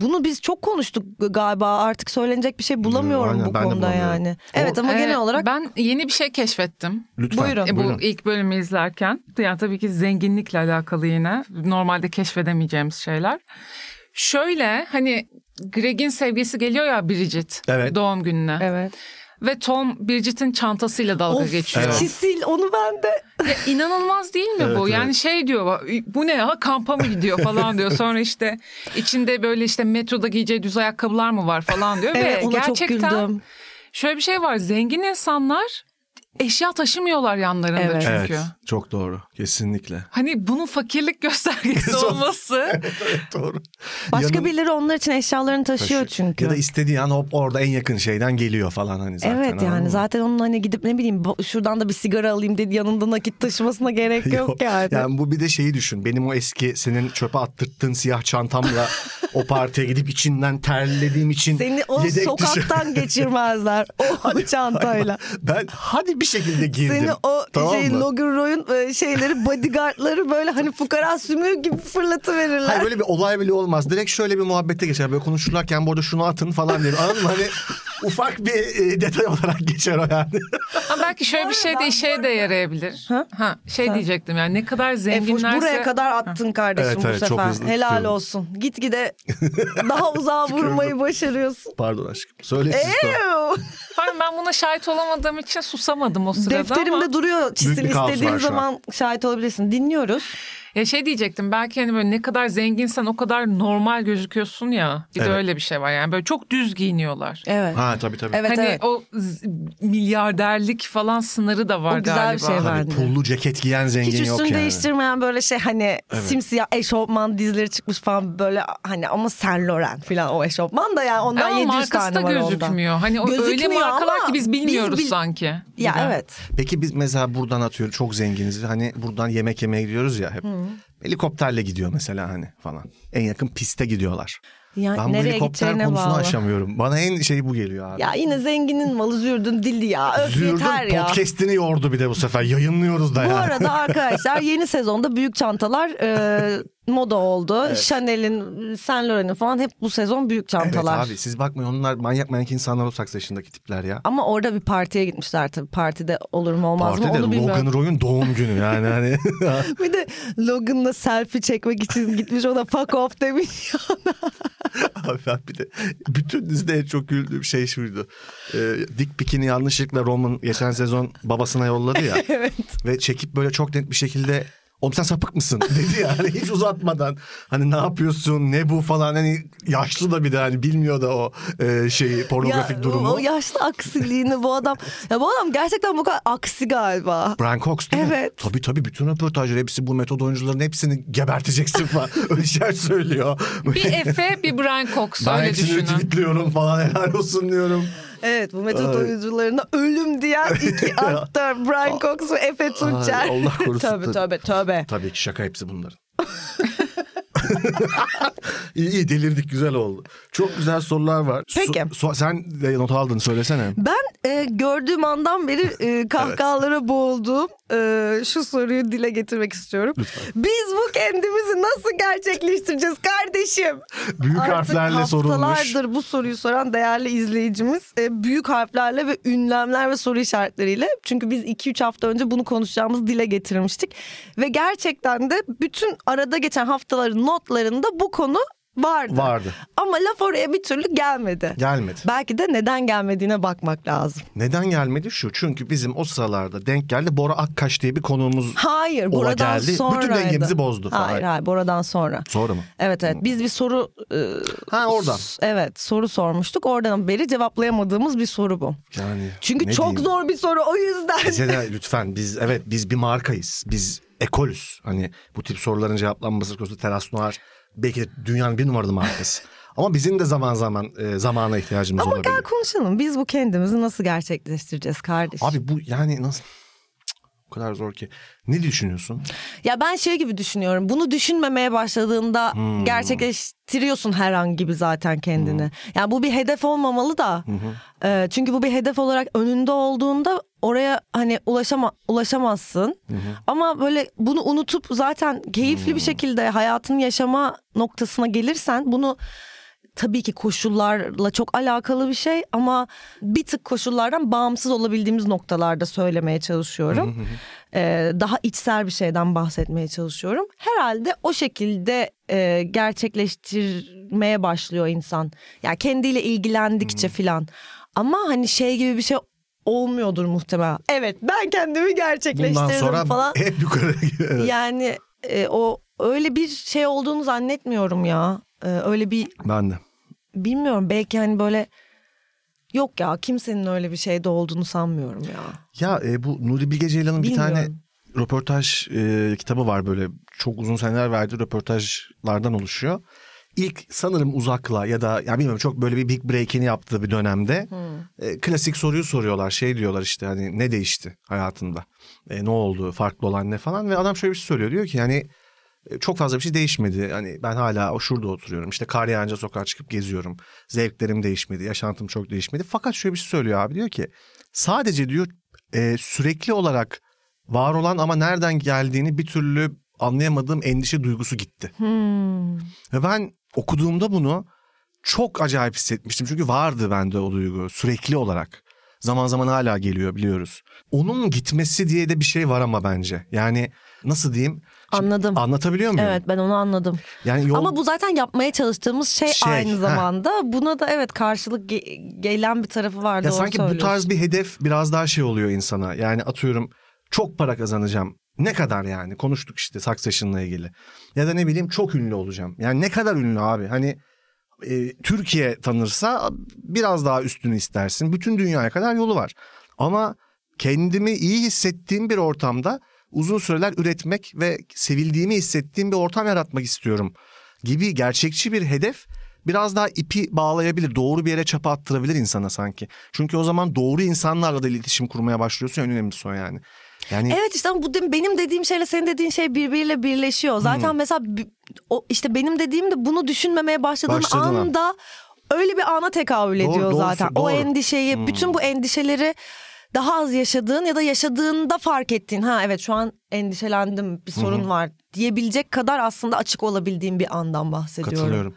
[SPEAKER 1] Bunu biz çok konuştuk galiba. Artık söylenecek bir şey bulamıyorum
[SPEAKER 3] Hmm, Aynen,
[SPEAKER 1] bu
[SPEAKER 3] ben de
[SPEAKER 1] konuda
[SPEAKER 3] bulamıyorum.
[SPEAKER 1] yani. Evet ama
[SPEAKER 5] Ee,
[SPEAKER 1] genel olarak
[SPEAKER 5] Ben yeni bir şey keşfettim.
[SPEAKER 3] Lütfen.
[SPEAKER 1] Buyurun.
[SPEAKER 5] E,
[SPEAKER 3] buyurun.
[SPEAKER 5] Bu ilk bölümü izlerken yani tabii ki zenginlikle alakalı yine normalde keşfedemeyeceğimiz şeyler. Şöyle hani Greg'in sevgilisi geliyor ya Bridget
[SPEAKER 3] Evet.
[SPEAKER 5] doğum gününe
[SPEAKER 1] evet.
[SPEAKER 5] ve Tom Bridget'in çantasıyla dalga
[SPEAKER 1] Of,
[SPEAKER 5] geçiyor.
[SPEAKER 1] Çisil onu ben de
[SPEAKER 5] Ya inanılmaz değil mi
[SPEAKER 3] Evet,
[SPEAKER 5] bu?
[SPEAKER 3] evet.
[SPEAKER 5] Yani şey diyor bu ne ya kampa mı gidiyor falan diyor. Sonra işte içinde böyle işte metroda giyeceği düz ayakkabılar mı var falan diyor.
[SPEAKER 1] evet,
[SPEAKER 5] Ve
[SPEAKER 1] ona
[SPEAKER 5] gerçekten
[SPEAKER 1] çok güldüm.
[SPEAKER 5] şöyle bir şey var zengin insanlar eşya taşımıyorlar yanlarında
[SPEAKER 1] Evet.
[SPEAKER 5] çünkü.
[SPEAKER 3] Evet. Çok doğru. Kesinlikle.
[SPEAKER 5] Hani bunun fakirlik göstergesi
[SPEAKER 3] Son-
[SPEAKER 5] olması.
[SPEAKER 3] doğru.
[SPEAKER 1] Başka
[SPEAKER 3] Yanın-
[SPEAKER 1] birileri onlar için eşyalarını taşıyor çünkü.
[SPEAKER 3] Ya da istediği an hop orada en yakın şeyden geliyor falan hani zaten.
[SPEAKER 1] evet
[SPEAKER 3] anladın
[SPEAKER 1] yani
[SPEAKER 3] mı?
[SPEAKER 1] zaten onun hani gidip ne bileyim bo- şuradan da bir sigara alayım dedi yanında nakit taşımasına gerek yok yani.
[SPEAKER 3] Yani bu bir de şeyi düşün. Benim o eski senin çöpe attırttığın siyah çantamla o partiye gidip içinden terlediğim için
[SPEAKER 1] Seni o
[SPEAKER 3] yedek
[SPEAKER 1] sokaktan
[SPEAKER 3] dışı-
[SPEAKER 1] geçirmezler o çantayla.
[SPEAKER 3] ben hadi bir şekilde girdim.
[SPEAKER 1] Seni o
[SPEAKER 3] tamam
[SPEAKER 1] şey
[SPEAKER 3] mı?
[SPEAKER 1] Logan Roy'un e, şeyleri bodyguardları böyle hani fukara sümüğü gibi fırlatıverirler.
[SPEAKER 3] Hayır böyle bir olay bile olmaz. Direkt şöyle bir muhabbete geçer. Böyle konuşurlarken bu arada şunu atın falan diye. Anladın mı? Hani ufak bir e, detay olarak geçer o yani.
[SPEAKER 5] Ama belki şöyle bir şey de işe de yarayabilir.
[SPEAKER 1] Ha?
[SPEAKER 5] Ha? şey diyecektim yani ne kadar
[SPEAKER 1] E, Fuş,
[SPEAKER 5] zenginlerse.
[SPEAKER 1] buraya kadar attın kardeşim
[SPEAKER 3] Evet,
[SPEAKER 1] bu
[SPEAKER 3] evet, çok
[SPEAKER 1] sefer.
[SPEAKER 3] hızlı
[SPEAKER 1] Helal
[SPEAKER 3] tutuyorum.
[SPEAKER 1] olsun. Gitgide daha uzağa vurmayı başarıyorsun.
[SPEAKER 3] Pardon aşkım. Söyle siz de.
[SPEAKER 1] Ew.
[SPEAKER 5] Pardon, ben buna şahit olamadığım için susamadım o sırada
[SPEAKER 1] Defterimde
[SPEAKER 5] ama.
[SPEAKER 1] duruyor çizim
[SPEAKER 3] bir kaos var
[SPEAKER 1] istediğin
[SPEAKER 3] şu an.
[SPEAKER 1] zaman şahit olabilirsin. Dinliyoruz.
[SPEAKER 5] Ya şey diyecektim belki hani böyle ne kadar zenginsen o kadar normal gözüküyorsun ya. Bir
[SPEAKER 3] Evet.
[SPEAKER 5] de öyle bir şey var yani böyle çok düz giyiniyorlar.
[SPEAKER 1] Evet.
[SPEAKER 3] Ha tabii tabii.
[SPEAKER 1] Evet
[SPEAKER 5] hani
[SPEAKER 1] evet.
[SPEAKER 5] o z- milyarderlik falan sınırı da var
[SPEAKER 1] O güzel bir
[SPEAKER 5] galiba.
[SPEAKER 1] şey var.
[SPEAKER 3] Tabii
[SPEAKER 1] bende.
[SPEAKER 3] pullu ceket giyen zengin
[SPEAKER 1] Hiç
[SPEAKER 3] yok
[SPEAKER 1] üstünü
[SPEAKER 3] yani.
[SPEAKER 1] değiştirmeyen böyle şey hani
[SPEAKER 3] Evet.
[SPEAKER 1] simsiyah eşofman dizleri çıkmış falan böyle hani ama Saint Laurent falan o eşofman da yani ondan
[SPEAKER 5] Ama
[SPEAKER 1] 700
[SPEAKER 5] markası
[SPEAKER 1] tane
[SPEAKER 5] da
[SPEAKER 1] var ondan.
[SPEAKER 5] gözükmüyor. Hani o öyle
[SPEAKER 1] Gözükmüyor
[SPEAKER 5] markalar
[SPEAKER 1] ama
[SPEAKER 5] ki biz
[SPEAKER 1] biz
[SPEAKER 5] bilmiyoruz
[SPEAKER 1] bil-
[SPEAKER 5] sanki.
[SPEAKER 1] Ya
[SPEAKER 5] Bir de.
[SPEAKER 1] evet.
[SPEAKER 3] Peki biz mesela buradan atıyor çok zenginiz. Hani buradan yemek yemeye gidiyoruz ya hep. Helikopterle gidiyor mesela hani falan. En yakın piste gidiyorlar.
[SPEAKER 1] Ya
[SPEAKER 3] Ben bu
[SPEAKER 1] nereye
[SPEAKER 3] helikopter
[SPEAKER 1] gideceğine
[SPEAKER 3] konusunu
[SPEAKER 1] bağlı.
[SPEAKER 3] aşamıyorum. Bana en şey bu geliyor abi.
[SPEAKER 1] Ya yine zenginin malı zürdün dili ya. Öf
[SPEAKER 3] Zürdün
[SPEAKER 1] yeter ya.
[SPEAKER 3] podcastini yordu bir de bu sefer. Yayınlıyoruz da
[SPEAKER 1] Bu
[SPEAKER 3] ya.
[SPEAKER 1] arada arkadaşlar yeni sezonda büyük çantalar e, moda oldu. Chanel'in, Saint Laurent'in falan hep bu sezon büyük
[SPEAKER 3] Evet
[SPEAKER 1] çantalar.
[SPEAKER 3] abi siz bakmayın onlar manyak manyak insanlar o Succession'daki tipler ya.
[SPEAKER 1] Ama orada bir partiye gitmişler tabii. Partide olur mu olmaz
[SPEAKER 3] Partide
[SPEAKER 1] mı onu bilmiyorum.
[SPEAKER 3] Logan Roy'un doğum günü yani hani.
[SPEAKER 1] Bir de Logan'la selfie çekmek için gitmiş ona fuck off demiş.
[SPEAKER 3] Abi ben bir de bütün dizide en çok güldüğüm şey şuydu. Ee, Dick Pick'ini yanlışlıkla Roman geçen sezon babasına yolladı ya.
[SPEAKER 1] evet.
[SPEAKER 3] Ve çekip böyle çok net bir şekilde oğlum sen sapık mısın dedi yani hiç uzatmadan. Hani ne yapıyorsun ne bu falan hani yaşlı da bir de hani bilmiyor da o e, şeyi pornografik
[SPEAKER 1] Ya,
[SPEAKER 3] durumu.
[SPEAKER 1] O yaşlı aksiliğini bu adam. Ya bu adam gerçekten bu kadar aksi galiba.
[SPEAKER 3] Brian Cox değil mi?
[SPEAKER 1] Evet.
[SPEAKER 3] Tabii tabii bütün röportajları hepsi bu metod oyuncuların hepsini geberteceksin falan. Öyle şeyler söylüyor.
[SPEAKER 5] Bir
[SPEAKER 1] e-
[SPEAKER 5] Efe bir Brian Cox
[SPEAKER 3] ben
[SPEAKER 5] öyle
[SPEAKER 3] hepsini
[SPEAKER 5] düşünün.
[SPEAKER 3] retweetliyorum falan helal olsun diyorum.
[SPEAKER 1] Evet bu metot
[SPEAKER 3] Ay.
[SPEAKER 1] oyuncularına ölüm diyen iki aktör Brian Cox ve Efe Tunçer.
[SPEAKER 3] Ay, Allah korusun.
[SPEAKER 1] tövbe tövbe tövbe.
[SPEAKER 3] Tabii ki şaka hepsi bunların. iyi iyi delirdik güzel oldu. Çok güzel sorular var. Su-
[SPEAKER 1] Peki.
[SPEAKER 3] su- sen de not aldın söylesene.
[SPEAKER 1] Ben e, gördüğüm andan beri e, kahkahalara boğulduğum e, şu soruyu dile getirmek istiyorum. Biz bu kendimizi nasıl gerçekleştireceğiz kardeşim?
[SPEAKER 3] Büyük harflerle sorulmuş.
[SPEAKER 1] haftalardır bu soruyu soran değerli izleyicimiz e, büyük harflerle ve ünlemler ve soru işaretleriyle çünkü biz 2-3 hafta önce bunu konuşacağımız dile getirmiştik ve gerçekten de bütün arada geçen haftaların notlarında bu konu vardı.
[SPEAKER 3] Vardı.
[SPEAKER 1] Ama laf oraya bir türlü gelmedi.
[SPEAKER 3] Gelmedi.
[SPEAKER 1] Belki de neden gelmediğine bakmak lazım.
[SPEAKER 3] Neden gelmedi şu. Çünkü bizim o sıralarda denk geldi Bora Akkaş diye bir konuğumuz
[SPEAKER 1] Hayır,
[SPEAKER 3] Ola
[SPEAKER 1] buradan
[SPEAKER 3] geldi. Bütün
[SPEAKER 1] sonra.
[SPEAKER 3] dengemizi bozdu.
[SPEAKER 1] Hayır,
[SPEAKER 3] Hayır.
[SPEAKER 1] hayır, buradan sonra.
[SPEAKER 3] Sonra mı?
[SPEAKER 1] Evet evet biz bir soru e,
[SPEAKER 3] Ha oradan.
[SPEAKER 1] s- evet soru sormuştuk. Oradan beri cevaplayamadığımız bir soru bu.
[SPEAKER 3] Yani
[SPEAKER 1] Çünkü
[SPEAKER 3] ne
[SPEAKER 1] çok
[SPEAKER 3] diyeyim?
[SPEAKER 1] zor bir soru o yüzden.
[SPEAKER 3] Bize de lütfen biz evet biz bir markayız. Biz ekolüz. Hani bu tip soruların cevaplanması konusunda Teras Noir belki de dünyanın bir numaralı markası. Ama bizim de zaman zaman e, zamana ihtiyacımız
[SPEAKER 1] Ama
[SPEAKER 3] olabilir.
[SPEAKER 1] gel konuşalım. Biz bu kendimizi nasıl gerçekleştireceğiz kardeşim?
[SPEAKER 3] Abi bu yani nasıl Cık, o kadar zor ki. Ne düşünüyorsun?
[SPEAKER 1] Ya ben şey gibi düşünüyorum. Bunu düşünmemeye başladığında gerçekleştiriyorsun herhangi gibi zaten kendini. Yani bu bir hedef olmamalı da. Ee, çünkü bu bir hedef olarak önünde olduğunda oraya hani ulaşama ulaşamazsın. Ama böyle bunu unutup zaten keyifli bir şekilde hayatını yaşama noktasına gelirsen bunu tabii ki koşullarla çok alakalı bir şey ama bir tık koşullardan bağımsız olabildiğimiz noktalarda söylemeye çalışıyorum. Ee, daha içsel bir şeyden bahsetmeye çalışıyorum. Herhalde o şekilde e, gerçekleştirmeye başlıyor insan. Ya kendiyle ilgilendikçe
[SPEAKER 3] Hmm.
[SPEAKER 1] filan. Ama hani şey gibi bir şey olmuyordur muhtemelen. Evet ben kendimi gerçekleştirdim
[SPEAKER 3] Bundan sonra
[SPEAKER 1] falan.
[SPEAKER 3] hep yukarı. Evet.
[SPEAKER 1] Yani e, o öyle bir şey olduğunu zannetmiyorum ya. Ee, öyle bir
[SPEAKER 3] ben de.
[SPEAKER 1] bilmiyorum belki hani böyle yok ya kimsenin öyle bir şeyde olduğunu sanmıyorum ya.
[SPEAKER 3] Ya e, bu Nuri Bilge Ceylan'ın bir tane
[SPEAKER 1] Bilmiyorum.
[SPEAKER 3] röportaj e, kitabı var böyle çok uzun seneler verdiği röportajlardan oluşuyor. İlk sanırım uzakla ya da ya bilmiyorum çok böyle bir big break'ini yaptığı bir dönemde e, klasik soruyu soruyorlar. Şey diyorlar işte hani ne değişti hayatında? E, ne oldu? Farklı olan ne falan ve adam şöyle bir şey söylüyor. Diyor ki yani e, çok fazla bir şey değişmedi. Hani ben hala o şurada oturuyorum. İşte kar yağınca sokağa çıkıp geziyorum. Zevklerim değişmedi. Yaşantım çok değişmedi. Fakat şöyle bir şey söylüyor abi diyor ki sadece diyor e, sürekli olarak var olan ama nereden geldiğini bir türlü anlayamadığım endişe duygusu gitti. Ve ben okuduğumda bunu çok acayip hissetmiştim. Çünkü vardı bende o duygu sürekli olarak. Zaman zaman hala geliyor biliyoruz. Onun gitmesi diye de bir şey var ama bence. Yani nasıl diyeyim? Şimdi
[SPEAKER 1] Anladım.
[SPEAKER 3] Anlatabiliyor muyum?
[SPEAKER 1] Evet ben onu anladım.
[SPEAKER 3] Yani yol...
[SPEAKER 1] Ama bu zaten yapmaya çalıştığımız şey,
[SPEAKER 3] Şey,
[SPEAKER 1] aynı
[SPEAKER 3] ha.
[SPEAKER 1] zamanda. Buna da evet karşılık ge- gelen bir tarafı var.
[SPEAKER 3] Ya
[SPEAKER 1] doğru
[SPEAKER 3] sanki bu
[SPEAKER 1] söylüyorsun.
[SPEAKER 3] tarz bir hedef biraz daha şey oluyor insana. Yani atıyorum çok para kazanacağım. Ne kadar yani? Konuştuk işte Succession'la ilgili. Ya da ne bileyim çok ünlü olacağım. Yani ne kadar ünlü abi? Hani e, Türkiye tanırsa biraz daha üstünü istersin. Bütün dünyaya kadar yolu var. Ama kendimi iyi hissettiğim bir ortamda uzun süreler üretmek ve sevildiğimi hissettiğim bir ortam yaratmak istiyorum gibi gerçekçi bir hedef biraz daha ipi bağlayabilir, doğru bir yere çapa attırabilir insana sanki. Çünkü o zaman doğru insanlarla da iletişim kurmaya başlıyorsun en önemlisi o yani. Yani
[SPEAKER 1] Evet işte ama bu de- benim dediğim şeyle senin dediğin şey birbiriyle birleşiyor. Zaten
[SPEAKER 3] Hmm.
[SPEAKER 1] mesela bi- o işte benim dediğim de bunu düşünmemeye başladığın
[SPEAKER 3] Başladığın an.
[SPEAKER 1] anda öyle bir ana tekabül
[SPEAKER 3] Doğru,
[SPEAKER 1] ediyor
[SPEAKER 3] doğrusu,
[SPEAKER 1] zaten. O
[SPEAKER 3] doğru. Hmm.
[SPEAKER 1] endişeyi, bütün bu endişeleri daha az yaşadığın ya da yaşadığında fark ettiğin ha evet şu an endişelendim bir sorun var diyebilecek kadar aslında açık olabildiğin bir andan bahsediyorum.
[SPEAKER 3] katılıyorum.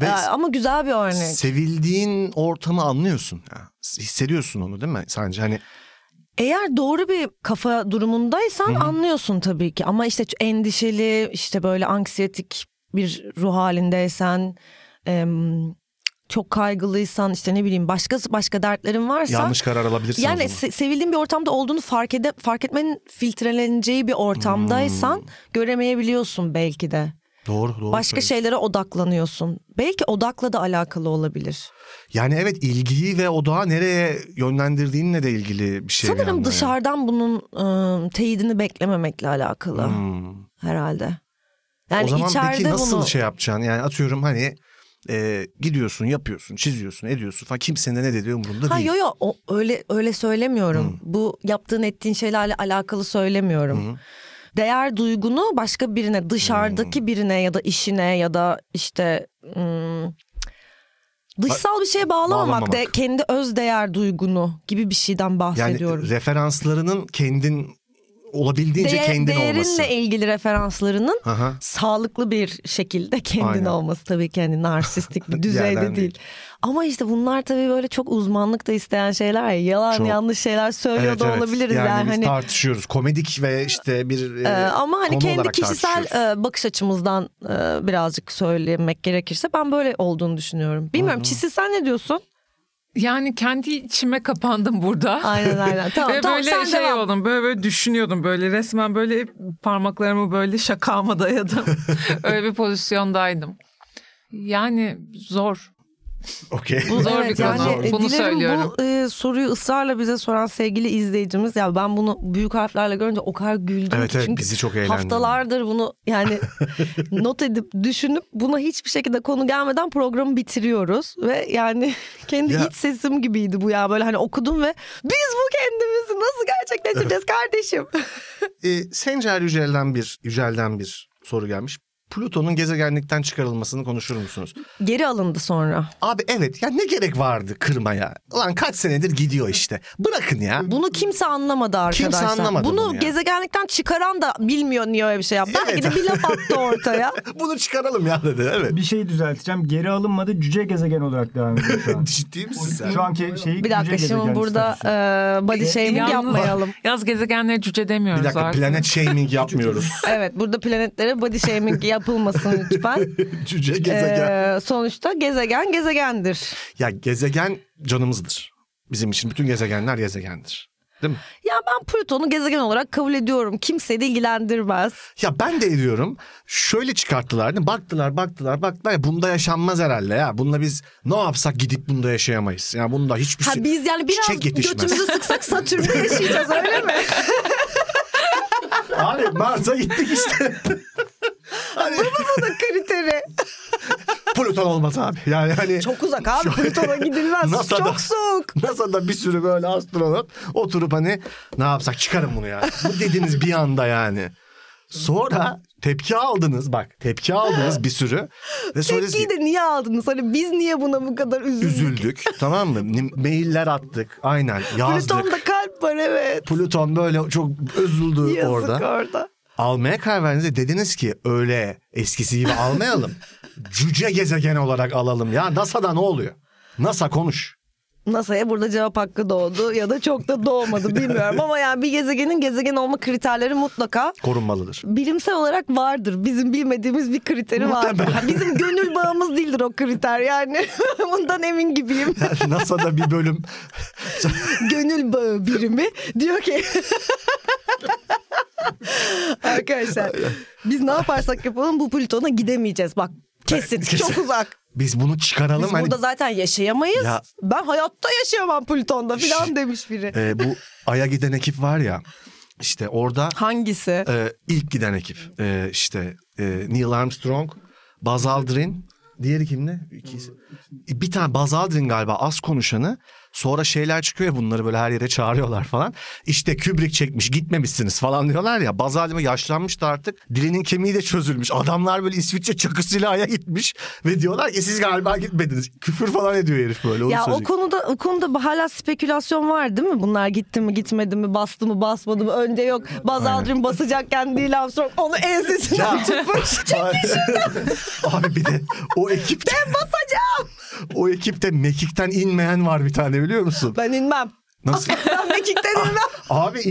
[SPEAKER 3] Ve
[SPEAKER 1] Ya, ama güzel bir örnek.
[SPEAKER 3] sevildiğin ortamı anlıyorsun. ya. Hissediyorsun onu değil mi? Sence hani
[SPEAKER 1] Eğer doğru bir kafa durumundaysan anlıyorsun tabii ki ama işte endişeli işte böyle anksiyetik bir ruh halindeysen em, çok kaygılıysan işte ne bileyim başkası başka dertlerin varsa
[SPEAKER 3] Yanlış karar alabilirsin
[SPEAKER 1] yani
[SPEAKER 3] o zaman.
[SPEAKER 1] se- sevildiğin bir ortamda olduğunu fark ede fark etmenin filtreleneceği bir ortamdaysan göremeyebiliyorsun belki de.
[SPEAKER 3] Doğru Hmm. doğru.
[SPEAKER 1] Başka
[SPEAKER 3] söylüyorsun.
[SPEAKER 1] şeylere odaklanıyorsun. Belki odakla da alakalı olabilir.
[SPEAKER 3] Yani evet ilgiyi ve odağı nereye yönlendirdiğinle de ilgili bir şey. bir
[SPEAKER 1] Sanırım
[SPEAKER 3] yandan
[SPEAKER 1] dışarıdan bunun ıı, teyidini beklememekle alakalı
[SPEAKER 3] yani. Hmm.
[SPEAKER 1] herhalde. Yani
[SPEAKER 3] o zaman
[SPEAKER 1] içeride
[SPEAKER 3] peki nasıl
[SPEAKER 1] bunu
[SPEAKER 3] şey yapacaksın? Yani atıyorum hani e, gidiyorsun, yapıyorsun, çiziyorsun, ediyorsun falan. Kimsenin de ne dediği umurunda
[SPEAKER 1] Ha
[SPEAKER 3] değil. Hmm.
[SPEAKER 1] yo yo o, öyle öyle söylemiyorum. Bu yaptığın ettiğin şeylerle alakalı söylemiyorum. Değer duygunu başka birine, dışarıdaki
[SPEAKER 3] Hmm.
[SPEAKER 1] birine ya da işine ya da işte ım, dışsal bir şeye bağlamamak,
[SPEAKER 3] bağlamamak.
[SPEAKER 1] De, kendi öz değer duygunu gibi bir şeyden
[SPEAKER 3] yani
[SPEAKER 1] bahsediyorum.
[SPEAKER 3] referanslarının kendin olabildiğince
[SPEAKER 1] Değer-
[SPEAKER 3] kendin
[SPEAKER 1] değerinle
[SPEAKER 3] olması.
[SPEAKER 1] ilgili referanslarının
[SPEAKER 3] Aha.
[SPEAKER 1] sağlıklı bir şekilde kendin
[SPEAKER 3] Aynen.
[SPEAKER 1] olması tabii ki hani narsistik bir
[SPEAKER 3] Yerden
[SPEAKER 1] düzeyde
[SPEAKER 3] değil.
[SPEAKER 1] değil. Ama işte bunlar tabii böyle çok uzmanlık da isteyen şeyler ya yalan
[SPEAKER 3] Çok.
[SPEAKER 1] yanlış şeyler söylüyor da olabiliriz yani,
[SPEAKER 3] yani, biz
[SPEAKER 1] hani
[SPEAKER 3] tartışıyoruz. Komedik ve işte bir e,
[SPEAKER 1] e, ama hani
[SPEAKER 3] konu
[SPEAKER 1] kendi
[SPEAKER 3] olarak
[SPEAKER 1] kişisel
[SPEAKER 3] tartışıyoruz.
[SPEAKER 1] e, bakış açımızdan e, birazcık söylemek gerekirse ben böyle olduğunu düşünüyorum. Bilmiyorum Çisil sen ne diyorsun?
[SPEAKER 5] Yani kendi içime kapandım burada.
[SPEAKER 1] Aynen aynen. Tamam
[SPEAKER 5] Ve
[SPEAKER 1] tamam
[SPEAKER 5] böyle
[SPEAKER 1] sen
[SPEAKER 5] şey
[SPEAKER 1] devam.
[SPEAKER 5] oldum böyle böyle düşünüyordum böyle resmen böyle parmaklarımı böyle şakağıma dayadım. Öyle bir pozisyondaydım. Yani zor.
[SPEAKER 3] Okey.
[SPEAKER 5] Bu zor bir
[SPEAKER 1] evet,
[SPEAKER 5] konu.
[SPEAKER 1] yani, e,
[SPEAKER 5] Bunu
[SPEAKER 1] dilerim
[SPEAKER 5] söylüyorum.
[SPEAKER 1] Bu e, soruyu ısrarla bize soran sevgili izleyicimiz ya ben bunu büyük harflerle görünce o kadar güldüm
[SPEAKER 3] Evet,
[SPEAKER 1] ki
[SPEAKER 3] evet,
[SPEAKER 1] çünkü
[SPEAKER 3] bizi çok eğlendirdi.
[SPEAKER 1] haftalardır bunu yani not edip düşünüp buna hiçbir şekilde konu gelmeden programı bitiriyoruz ve yani kendi
[SPEAKER 3] Ya-
[SPEAKER 1] iç sesim gibiydi bu ya böyle hani okudum ve biz bu kendimizi nasıl gerçekleştireceğiz kardeşim?
[SPEAKER 3] E, Sencer Yücel'den bir Yücel'den bir soru gelmiş. Plüton'un gezegenlikten çıkarılmasını konuşur musunuz?
[SPEAKER 1] Geri alındı sonra.
[SPEAKER 3] Abi evet ya ne gerek vardı kırmaya? Ulan kaç senedir gidiyor işte. Bırakın ya.
[SPEAKER 1] Bunu kimse anlamadı
[SPEAKER 3] Kimse
[SPEAKER 1] arkadaşlar.
[SPEAKER 3] anlamadı
[SPEAKER 1] bunu,
[SPEAKER 3] bunu ya.
[SPEAKER 1] gezegenlikten çıkaran da bilmiyor niye öyle bir şey yaptı. Belki
[SPEAKER 3] Evet.
[SPEAKER 1] de bir laf attı ortaya.
[SPEAKER 3] Bunu çıkaralım ya dedi. Evet.
[SPEAKER 4] Bir şey düzelteceğim. Geri alınmadı. Cüce gezegen olarak devam ediyor şu an.
[SPEAKER 3] Ciddi misin sen?
[SPEAKER 4] Şu anki şeyi
[SPEAKER 1] Bir dakika
[SPEAKER 4] cüce
[SPEAKER 1] şimdi
[SPEAKER 4] gezegen
[SPEAKER 1] burada
[SPEAKER 4] statüsü.
[SPEAKER 1] e, body shaming
[SPEAKER 5] Yalnız-
[SPEAKER 1] yapmayalım.
[SPEAKER 5] Yaz gezegenlere cüce demiyoruz
[SPEAKER 3] Bir dakika
[SPEAKER 5] artık.
[SPEAKER 3] planet shaming yapmıyoruz.
[SPEAKER 1] evet burada planetlere body shaming yapılmasın lütfen.
[SPEAKER 3] Cüce gezegen.
[SPEAKER 1] E, sonuçta gezegen gezegendir.
[SPEAKER 3] Ya gezegen canımızdır. Bizim için bütün gezegenler gezegendir. Değil mi?
[SPEAKER 1] Ya ben Plüton'u gezegen olarak kabul ediyorum. Kimseyi de ilgilendirmez.
[SPEAKER 3] Ya ben de ediyorum. Şöyle çıkarttılar değil mi? Baktılar baktılar baktılar. Ya Bunda yaşanmaz herhalde ya. Bununla biz ne yapsak gidip bunda yaşayamayız. Ya bunda hiçbir
[SPEAKER 1] Ha
[SPEAKER 3] şey...
[SPEAKER 1] biz yani biraz
[SPEAKER 3] Çiçek yetişmez.
[SPEAKER 1] götümüzü sıksak Satürn'de yaşayacağız öyle mi?
[SPEAKER 3] Abi Mars'a gittik işte. hani
[SPEAKER 1] Bu da kriteri.
[SPEAKER 3] Plüton olmaz abi. Yani hani...
[SPEAKER 1] Çok uzak abi Plüton'a gidilmez.
[SPEAKER 3] NASA'da.
[SPEAKER 1] Çok soğuk.
[SPEAKER 3] NASA'da bir sürü böyle astronot oturup hani ne yapsak çıkarın bunu ya. Bu dediniz bir anda yani. Sonra tepki aldınız bak tepki aldınız bir sürü. Ve sonra dediniz ki,
[SPEAKER 1] Tepkiyi de niye aldınız? Hani biz niye buna bu kadar üzüldük?
[SPEAKER 3] üzüldük tamam mı? Ni- Mailler attık aynen yazdık.
[SPEAKER 1] Plüton'da kalp var evet.
[SPEAKER 3] Plüton böyle çok üzüldü
[SPEAKER 1] Yazık
[SPEAKER 3] orada.
[SPEAKER 1] orada.
[SPEAKER 3] Almaya karar verdiğinizde dediniz ki öyle eskisi gibi almayalım. Cüce gezegen olarak alalım ya NASA'da ne oluyor? NASA konuş.
[SPEAKER 1] NASA'ya burada cevap hakkı doğdu ya da çok da doğmadı bilmiyorum ama yani bir gezegenin gezegen olma kriterleri mutlaka
[SPEAKER 3] Korunmalıdır.
[SPEAKER 1] bilimsel olarak vardır. Bizim bilmediğimiz bir kriteri vardır. Yani Bizim gönül bağımız değildir o kriter yani. Bundan emin gibiyim.
[SPEAKER 3] NASA'da bir bölüm
[SPEAKER 1] gönül bağı birimi diyor ki Arkadaşlar biz ne yaparsak yapalım bu Plüton'a gidemeyeceğiz bak. Kesin,
[SPEAKER 3] Kesin.
[SPEAKER 1] çok uzak.
[SPEAKER 3] biz bunu çıkaralım.
[SPEAKER 1] Biz
[SPEAKER 3] hani
[SPEAKER 1] burada zaten yaşayamayız.
[SPEAKER 3] Ya-
[SPEAKER 1] Ben hayatta yaşayamam Plüton'da
[SPEAKER 3] Şş.
[SPEAKER 1] falan demiş biri.
[SPEAKER 3] Ee, bu Ay'a giden ekip var ya işte orada
[SPEAKER 1] Hangisi?
[SPEAKER 3] e, ilk giden ekip Ee, işte e, Neil Armstrong, Buzz Aldrin diğeri kimdi? İkisi. Bir tane Buzz Aldrin galiba az konuşanı sonra şeyler çıkıyor ya bunları böyle her yere çağırıyorlar falan. İşte Kubrick çekmiş gitmemişsiniz falan diyorlar ya Buzz Aldrin yaşlanmış da artık dilinin kemiği de çözülmüş. Adamlar böyle İsviçre çakısıyla Ay'a gitmiş ve diyorlar ki siz galiba gitmediniz. Küfür falan ediyor herif böyle. onu
[SPEAKER 1] Ya o
[SPEAKER 3] söyleyecek.
[SPEAKER 1] konuda o konuda hala spekülasyon var değil mi? Bunlar gitti mi gitmedi mi bastı mı basmadı mı önce yok. Buzz Aldrin basacakken Neil Armstrong onu ensesinden
[SPEAKER 3] Ya.
[SPEAKER 1] tutmuş.
[SPEAKER 3] Abi- Abi bir de o ekipte
[SPEAKER 1] Basacağım.
[SPEAKER 3] o ekipte mekikten inmeyen var bir tane biliyor musun?
[SPEAKER 1] Ben inmem.
[SPEAKER 3] Nasıl?
[SPEAKER 1] Ben mekikte
[SPEAKER 3] Ah,
[SPEAKER 1] değilim.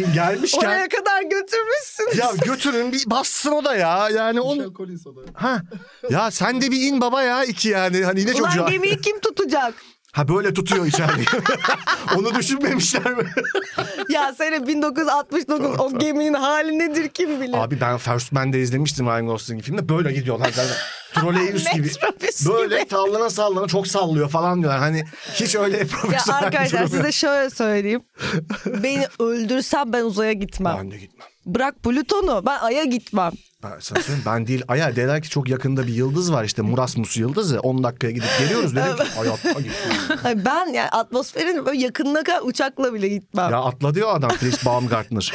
[SPEAKER 3] Abi gelmişken
[SPEAKER 1] Oraya kadar götürmüşsün.
[SPEAKER 3] ya götürün bir bassın o da ya. Yani onu
[SPEAKER 4] Alkol soda.
[SPEAKER 3] ha ya sen de bir in baba ya iki yani hani ne çocuğa.
[SPEAKER 1] Ulan gemiyi kim tutacak?
[SPEAKER 3] Ha böyle tutuyor içeriği. onu düşünmemişler mi?
[SPEAKER 1] Ya sene 1969 o geminin hali nedir kim bilir.
[SPEAKER 3] Abi ben First Man'de izlemiştim Ryan Gosling'in filmde. Böyle gidiyorlar zaten. Troleybüs gibi.
[SPEAKER 1] Metrobüs
[SPEAKER 3] Böyle sallana sallana çok sallıyor falan diyorlar. Hani hiç öyle
[SPEAKER 1] Ya
[SPEAKER 3] profesyonel
[SPEAKER 1] arkadaşlar
[SPEAKER 3] durum yok.
[SPEAKER 1] size şöyle söyleyeyim. Beni öldürsem ben uzaya gitmem.
[SPEAKER 3] Ben de gitmem.
[SPEAKER 1] Bırak Plüton'u ben Ay'a gitmem.
[SPEAKER 3] Ben, sana söyleyeyim, ben değil. Aya dediler ki çok yakında bir yıldız var işte Murasmus yıldızı. 10 dakikaya gidip geliyoruz. Dedim ki hayatta gitmem.
[SPEAKER 1] Hayır, ben yani atmosferin böyle yakınına kadar uçakla bile gitmem.
[SPEAKER 3] ya atla diyor adam Chris Baumgartner.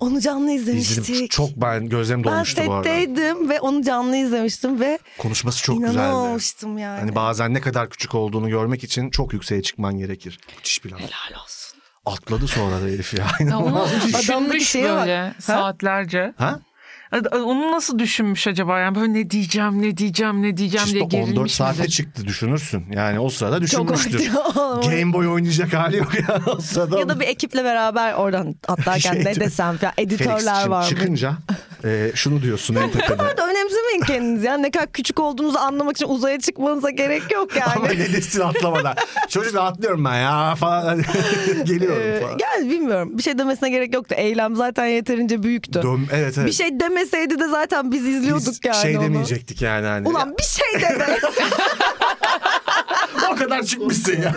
[SPEAKER 1] Onu canlı
[SPEAKER 3] İzledim.
[SPEAKER 1] izlemiştik.
[SPEAKER 3] Çok ben gözlerim
[SPEAKER 1] ben
[SPEAKER 3] dolmuştu bu arada.
[SPEAKER 1] setteydim ve onu canlı izlemiştim ve
[SPEAKER 3] Konuşması çok güzeldi.
[SPEAKER 1] inanamamıştım yani.
[SPEAKER 3] Hani bazen ne kadar küçük olduğunu görmek için çok yükseğe çıkman gerekir. Müthiş bir laf.
[SPEAKER 1] Helal olsun.
[SPEAKER 3] Atladı sonra da herif ya.
[SPEAKER 5] Ya Onu
[SPEAKER 1] Adamdaki
[SPEAKER 5] düşünmüş
[SPEAKER 1] şeye bak.
[SPEAKER 5] böyle saatlerce.
[SPEAKER 3] ha?
[SPEAKER 5] Ad- Onu nasıl düşünmüş acaba yani böyle ne diyeceğim ne diyeceğim ne diyeceğim şey diye
[SPEAKER 3] Çisto
[SPEAKER 5] gerilmiş
[SPEAKER 3] 14 saatte
[SPEAKER 5] midir?
[SPEAKER 3] çıktı düşünürsün. Yani o sırada
[SPEAKER 1] Çok
[SPEAKER 3] düşünmüştür.
[SPEAKER 1] oldu.
[SPEAKER 3] Game Boy oynayacak hali yok ya o sırada.
[SPEAKER 1] Ya da bir ekiple beraber oradan atlarken
[SPEAKER 3] Şey-
[SPEAKER 1] ne desem falan
[SPEAKER 3] Felix
[SPEAKER 1] editörler
[SPEAKER 3] için
[SPEAKER 1] var mı?
[SPEAKER 3] çıkınca e, şunu diyorsun en tepede.
[SPEAKER 1] da önemsemeyin kendinizi. Yani ne kadar küçük olduğunuzu anlamak için uzaya çıkmanıza gerek yok
[SPEAKER 3] Ama
[SPEAKER 1] yani.
[SPEAKER 3] ne desin atlamadan. Çocuk da atlıyorum ben ya falan. Hani
[SPEAKER 1] Ee,
[SPEAKER 3] Geliyorum falan.
[SPEAKER 1] yani bilmiyorum. Bir şey demesine gerek yoktu. Eylem zaten yeterince büyüktü.
[SPEAKER 3] Döm, evet evet.
[SPEAKER 1] Bir şey demeseydi de zaten biz izliyorduk
[SPEAKER 3] Biz
[SPEAKER 1] yani
[SPEAKER 3] şey
[SPEAKER 1] onu.
[SPEAKER 3] demeyecektik yani. Hani.
[SPEAKER 1] Ulan bir şey deme.
[SPEAKER 3] o kadar çıkmışsın ya.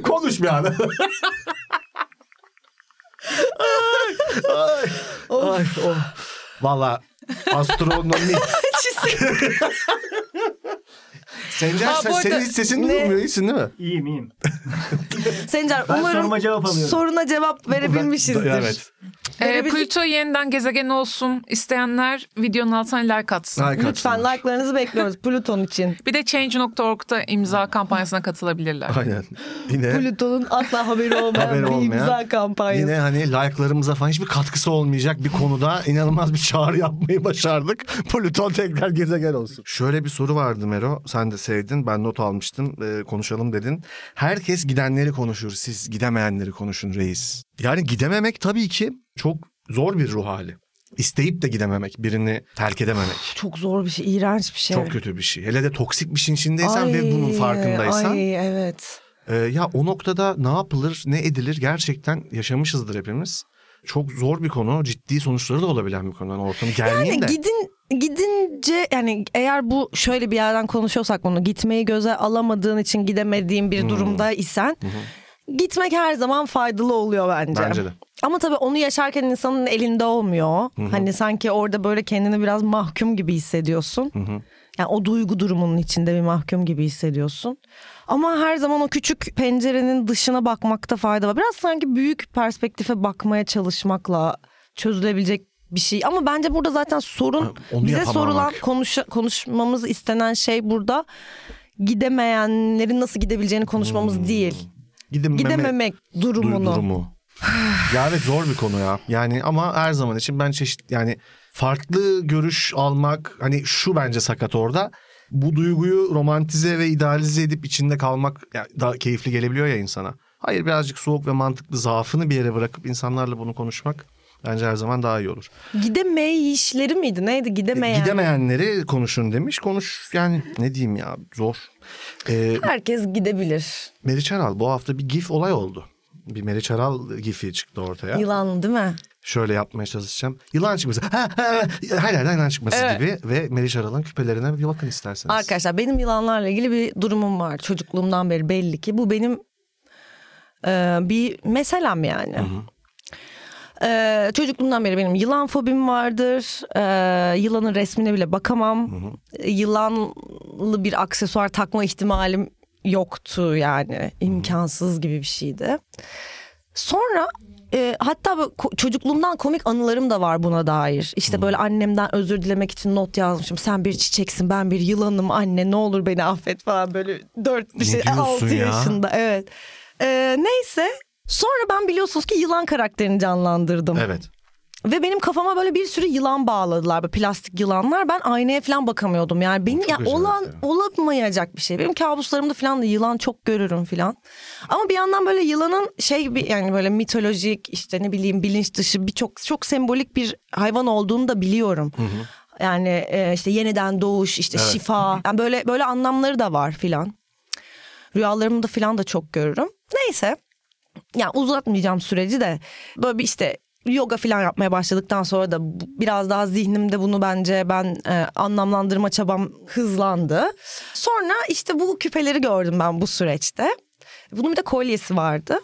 [SPEAKER 3] Konuş bir ara. Ay, oh. Valla astronomi. Sencer
[SPEAKER 5] Ha,
[SPEAKER 3] sen,
[SPEAKER 5] bu arada-
[SPEAKER 3] senin hiç sesin
[SPEAKER 1] Ne?
[SPEAKER 3] duyulmuyor iyisin değil mi?
[SPEAKER 4] İyiyim iyiyim.
[SPEAKER 1] Sencer
[SPEAKER 4] Ben
[SPEAKER 1] umarım
[SPEAKER 4] soruma cevap alıyorum.
[SPEAKER 1] soruna cevap verebilmişizdir.
[SPEAKER 3] Evet.
[SPEAKER 5] Ee,
[SPEAKER 1] Verebildik-
[SPEAKER 5] Pluto yeniden gezegen olsun isteyenler videonun altına like atsın.
[SPEAKER 3] Harika.
[SPEAKER 1] Lütfen like'larınızı bekliyoruz Plüton için.
[SPEAKER 5] Bir de Change.org'da imza kampanyasına katılabilirler.
[SPEAKER 3] Aynen. Yine,
[SPEAKER 1] Plüton'un asla haberi olmayan
[SPEAKER 3] Haberi
[SPEAKER 1] bir
[SPEAKER 3] olmayan.
[SPEAKER 1] imza kampanyası.
[SPEAKER 3] yine hani like'larımıza falan hiçbir katkısı olmayacak bir konuda inanılmaz bir çağrı yapmayı başardık. Plüton tekrar gezegen olsun. Şöyle bir soru vardı Mero. Sen de sevdin. Ben not almıştım. Ee, konuşalım dedin. Herkes gidenleri konuşur. Siz gidemeyenleri konuşun reis. Yani gidememek tabii ki çok zor bir ruh hali. İsteyip de gidememek, birini terk edememek.
[SPEAKER 1] Çok zor bir şey, iğrenç bir şey.
[SPEAKER 3] Çok kötü bir şey. Hele de toksik bir şeyin içindeysen ve
[SPEAKER 1] Ay,
[SPEAKER 3] bunun farkındaysan.
[SPEAKER 1] Ay evet.
[SPEAKER 3] Ee, ya o noktada ne yapılır, ne edilir gerçekten yaşamışızdır hepimiz. Çok zor bir konu, ciddi sonuçları da olabilen bir konu. Yani ortamı
[SPEAKER 1] Yani
[SPEAKER 3] gelmeyeyim de.
[SPEAKER 1] gidin gidince yani eğer bu şöyle bir yerden konuşuyorsak bunu gitmeyi göze alamadığın için gidemediğin
[SPEAKER 3] Hmm.
[SPEAKER 1] bir durumda isen gitmek her zaman faydalı oluyor bence.
[SPEAKER 3] Bence de.
[SPEAKER 1] Ama tabii onu yaşarken insanın elinde olmuyor. Hani sanki orada böyle kendini biraz mahkum gibi hissediyorsun. Yani o duygu durumunun içinde bir mahkum gibi hissediyorsun. Ama her zaman o küçük pencerenin dışına bakmakta fayda var. Biraz sanki büyük perspektife bakmaya çalışmakla çözülebilecek bir şey. Ama bence burada zaten sorun
[SPEAKER 3] Onu
[SPEAKER 1] bize
[SPEAKER 3] yapamamak.
[SPEAKER 1] sorulan konuş, konuşmamız istenen şey burada gidemeyenlerin nasıl gidebileceğini konuşmamız
[SPEAKER 3] Hmm.
[SPEAKER 1] değil.
[SPEAKER 3] Gidememe-
[SPEAKER 1] Gidememek
[SPEAKER 3] du-
[SPEAKER 1] durumunu.
[SPEAKER 3] durumu. ya evet zor bir konu ya. Yani ama her zaman için ben çeşit yani farklı görüş almak hani şu bence sakat orada. Bu duyguyu romantize ve idealize edip içinde kalmak ya, daha keyifli gelebiliyor ya insana. Hayır birazcık soğuk ve mantıklı zaafını bir yere bırakıp insanlarla bunu konuşmak bence her zaman daha iyi olur.
[SPEAKER 1] Gidemeyişleri miydi? Neydi? Gidemeyen.
[SPEAKER 3] E, Gidemeyenleri konuşun demiş. Konuş yani ne diyeyim ya zor. Ee,
[SPEAKER 1] Herkes gidebilir.
[SPEAKER 3] Meriç Aral bu hafta bir gif olay oldu. Bir Meriç Aral gifi çıktı ortaya.
[SPEAKER 1] Yılan değil mi?
[SPEAKER 3] Şöyle yapmaya çalışacağım. Yılan çıkması. Ha, ha, ha, Her yerden yılan çıkması
[SPEAKER 1] Evet.
[SPEAKER 3] gibi. Ve Meriç Aral'ın küpelerine bir bakın isterseniz.
[SPEAKER 1] Arkadaşlar benim yılanlarla ilgili bir durumum var. Çocukluğumdan beri belli ki. Bu benim e, bir meselem yani. E, çocukluğumdan beri benim yılan fobim vardır. E, yılanın resmine bile bakamam. E, Yılanlı bir aksesuar takma ihtimalim yoktu yani. imkansız gibi bir şeydi. Sonra e, hatta böyle ko- çocukluğumdan komik anılarım da var buna dair. İşte böyle annemden özür dilemek için not yazmışım. Sen bir çiçeksin ben bir yılanım anne ne olur beni affet falan böyle dört bir
[SPEAKER 3] Ne
[SPEAKER 1] şey
[SPEAKER 3] diyorsun
[SPEAKER 1] altı
[SPEAKER 3] ya?
[SPEAKER 1] yaşında evet. E, neyse sonra ben biliyorsunuz ki yılan karakterini canlandırdım.
[SPEAKER 3] Evet.
[SPEAKER 1] Ve benim kafama böyle bir sürü yılan bağladılar. Böyle plastik yılanlar. Ben aynaya falan bakamıyordum. Yani benim
[SPEAKER 3] Çok şey.
[SPEAKER 1] ya
[SPEAKER 3] acayip
[SPEAKER 1] olan
[SPEAKER 3] ya.
[SPEAKER 1] olamayacak bir şey. Benim kabuslarımda falan da yılan çok görürüm falan. Ama bir yandan böyle yılanın şey gibi yani böyle mitolojik işte ne bileyim bilinç dışı birçok çok sembolik bir hayvan olduğunu da biliyorum. Yani e, işte yeniden doğuş, işte şifa. Yani böyle böyle anlamları da var filan. Rüyalarımda filan da çok görürüm. Neyse. Yani uzatmayacağım süreci de böyle bir işte yoga filan yapmaya başladıktan sonra da bu- biraz daha zihnimde bunu bence ben e, anlamlandırma çabam hızlandı. Sonra işte bu küpeleri gördüm ben bu süreçte. Bunun bir de kolyesi vardı.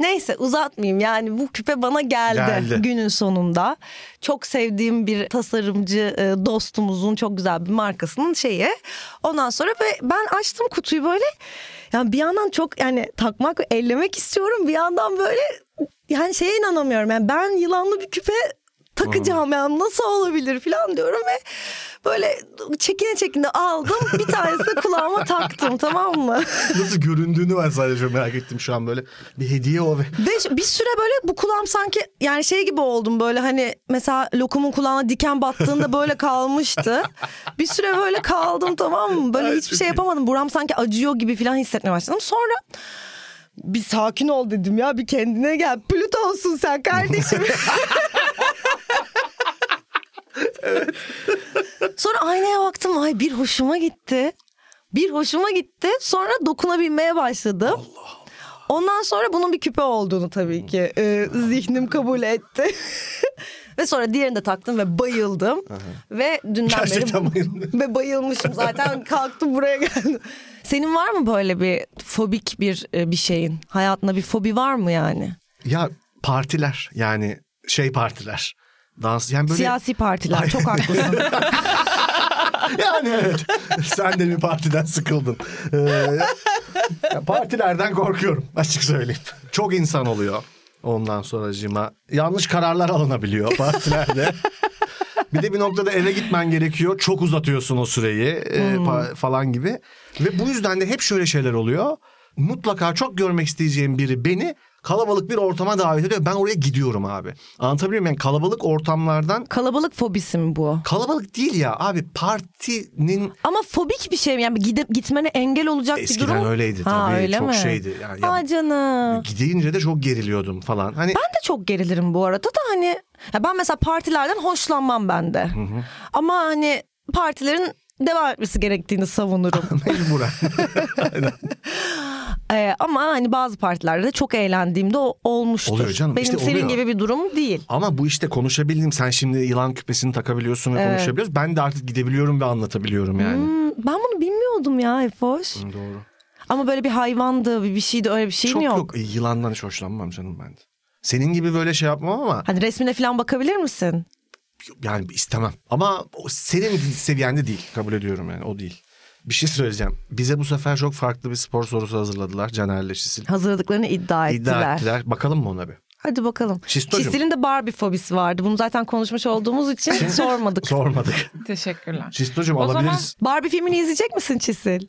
[SPEAKER 1] Neyse uzatmayayım yani bu küpe bana geldi,
[SPEAKER 3] Geldi.
[SPEAKER 1] günün sonunda. Çok sevdiğim bir tasarımcı e, dostumuzun çok güzel bir markasının şeyi. Ondan sonra be- ben açtım kutuyu böyle. Yani bir yandan çok yani takmak ve ellemek istiyorum. Bir yandan böyle yani şeye inanamıyorum. Yani ben yılanlı bir küpe takacağım yani nasıl olabilir falan diyorum ve böyle çekine çekine aldım bir tanesini kulağıma taktım tamam mı?
[SPEAKER 3] Nasıl göründüğünü ben sadece merak ettim şu an böyle. Bir hediye o ve
[SPEAKER 1] Ve ş- bir süre böyle bu kulağım sanki yani şey gibi oldum böyle hani mesela lokumun kulağına diken battığında böyle kalmıştı. Bir süre böyle kaldım tamam mı? Böyle
[SPEAKER 3] Ay,
[SPEAKER 1] hiçbir
[SPEAKER 3] çok
[SPEAKER 1] şey
[SPEAKER 3] iyi.
[SPEAKER 1] yapamadım. Buram sanki acıyor gibi falan hissetmeye başladım. Sonra bir sakin ol dedim ya bir kendine gel. Plütonsun sen kardeşim. Sonra aynaya baktım ay bir hoşuma gitti. Bir hoşuma gitti. Sonra dokunabilmeye başladım. Ondan sonra bunun bir küpe olduğunu tabii ki e, zihnim kabul etti. ve sonra diğerini de taktım ve bayıldım. ve dünden beri
[SPEAKER 3] Gerçekten bayıldım.
[SPEAKER 1] ve bayılmışım zaten kalktım buraya geldim. Senin var mı böyle bir fobik bir e, bir şeyin? Hayatında bir fobi var mı yani?
[SPEAKER 3] Ya partiler yani şey partiler. Dans yani böyle
[SPEAKER 1] Siyasi partiler çok haklısın.
[SPEAKER 3] yani evet. Sen de bir partiden sıkıldın. Ee, ya partilerden korkuyorum açık söyleyeyim. Çok insan oluyor. Ondan sonracığıma yanlış kararlar alınabiliyor partilerde. bir de bir noktada eve gitmen gerekiyor. Çok uzatıyorsun o süreyi e, pa- falan gibi. Ve bu yüzden de hep şöyle şeyler oluyor. Mutlaka çok görmek isteyeceğim biri beni kalabalık bir ortama davet ediyor. Ben oraya gidiyorum abi. Anlatabiliyor muyum? Yani kalabalık ortamlardan
[SPEAKER 1] Kalabalık fobisi mi bu?
[SPEAKER 3] kalabalık değil ya abi partinin
[SPEAKER 1] Ama fobik bir şey mi? Yani gidip gitmene engel olacak
[SPEAKER 3] Eskiden
[SPEAKER 1] bir durum.
[SPEAKER 3] öyleydi tabii. Çok şeydi. Yani ya-
[SPEAKER 1] Aa canım.
[SPEAKER 3] gidince de çok geriliyordum falan. Hani
[SPEAKER 1] Ben de çok gerilirim bu arada da hani ya ben mesela partilerden hoşlanmam ben de. Ama hani partilerin devam etmesi gerektiğini savunurum.
[SPEAKER 3] mecburen.
[SPEAKER 1] Ee, ama hani bazı partilerde de çok eğlendiğimde o olmuştur.
[SPEAKER 3] Oluyor canım,
[SPEAKER 1] Benim
[SPEAKER 3] işte
[SPEAKER 1] senin
[SPEAKER 3] oluyor.
[SPEAKER 1] gibi bir durum değil.
[SPEAKER 3] Ama bu işte konuşabildiğim sen şimdi yılan küpesini takabiliyorsun ve
[SPEAKER 1] Evet.
[SPEAKER 3] konuşabiliyorsun. Ben de artık gidebiliyorum ve anlatabiliyorum yani.
[SPEAKER 1] Hmm, ben bunu bilmiyordum ya Efoş.
[SPEAKER 3] Doğru.
[SPEAKER 1] Ama böyle bir hayvandı, bir bir şeydi öyle bir şeyin
[SPEAKER 3] Çok
[SPEAKER 1] yok.
[SPEAKER 3] yok. E, Yılandan hiç hoşlanmam canım ben de. Senin gibi böyle şey yapmam ama
[SPEAKER 1] Hani resmine falan bakabilir misin?
[SPEAKER 3] yani istemem. Ama o senin seviyende değil. Kabul ediyorum yani o değil. Bir şey söyleyeceğim. Bize bu sefer çok farklı bir spor sorusu hazırladılar. Caner'le Şisil.
[SPEAKER 1] Hazırladıklarını iddia ettiler.
[SPEAKER 3] İddia ettiler. Bakalım mı ona bir?
[SPEAKER 1] Hadi bakalım.
[SPEAKER 3] Şistocuğum.
[SPEAKER 1] Çistil'in de Barbie fobisi vardı. Bunu zaten konuşmuş olduğumuz için sormadık.
[SPEAKER 3] Sormadık.
[SPEAKER 5] Teşekkürler.
[SPEAKER 3] Şistocuğum
[SPEAKER 5] O zaman-
[SPEAKER 3] alabiliriz.
[SPEAKER 1] Barbie filmini izleyecek misin Çisil?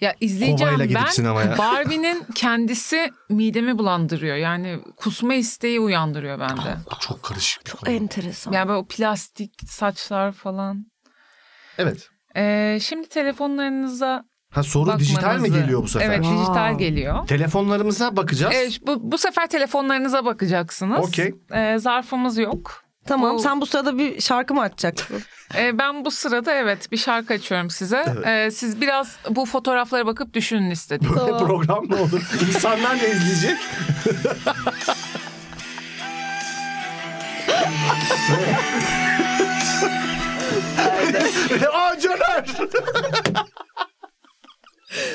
[SPEAKER 5] Ya izleyeceğim
[SPEAKER 3] Kovayla gidip
[SPEAKER 5] ben.
[SPEAKER 3] sinemaya.
[SPEAKER 5] Barbie'nin kendisi midemi bulandırıyor. Yani kusma isteği uyandırıyor bende.
[SPEAKER 3] Çok karışık. bir konu.
[SPEAKER 1] Enteresan.
[SPEAKER 5] Yani böyle o plastik saçlar falan.
[SPEAKER 3] Evet.
[SPEAKER 5] Ee, şimdi telefonlarınıza
[SPEAKER 3] Ha soru
[SPEAKER 5] bakmanızı.
[SPEAKER 3] dijital mi geliyor bu sefer?
[SPEAKER 5] Evet
[SPEAKER 1] Wow.
[SPEAKER 5] dijital geliyor.
[SPEAKER 3] Telefonlarımıza bakacağız.
[SPEAKER 5] Evet, bu, bu sefer telefonlarınıza bakacaksınız.
[SPEAKER 3] Okey.
[SPEAKER 5] Ee, zarfımız yok.
[SPEAKER 1] tamam
[SPEAKER 5] Bu-
[SPEAKER 1] sen bu sırada bir şarkı mı açacaksın?
[SPEAKER 5] Ee, ben bu sırada evet bir şarkı açıyorum size. Ee, siz biraz bu fotoğraflara bakıp düşünün istedim.
[SPEAKER 3] Böyle
[SPEAKER 1] Tamam.
[SPEAKER 3] program mı olur? İnsanlar da izleyecek. Ve- Aa Caner!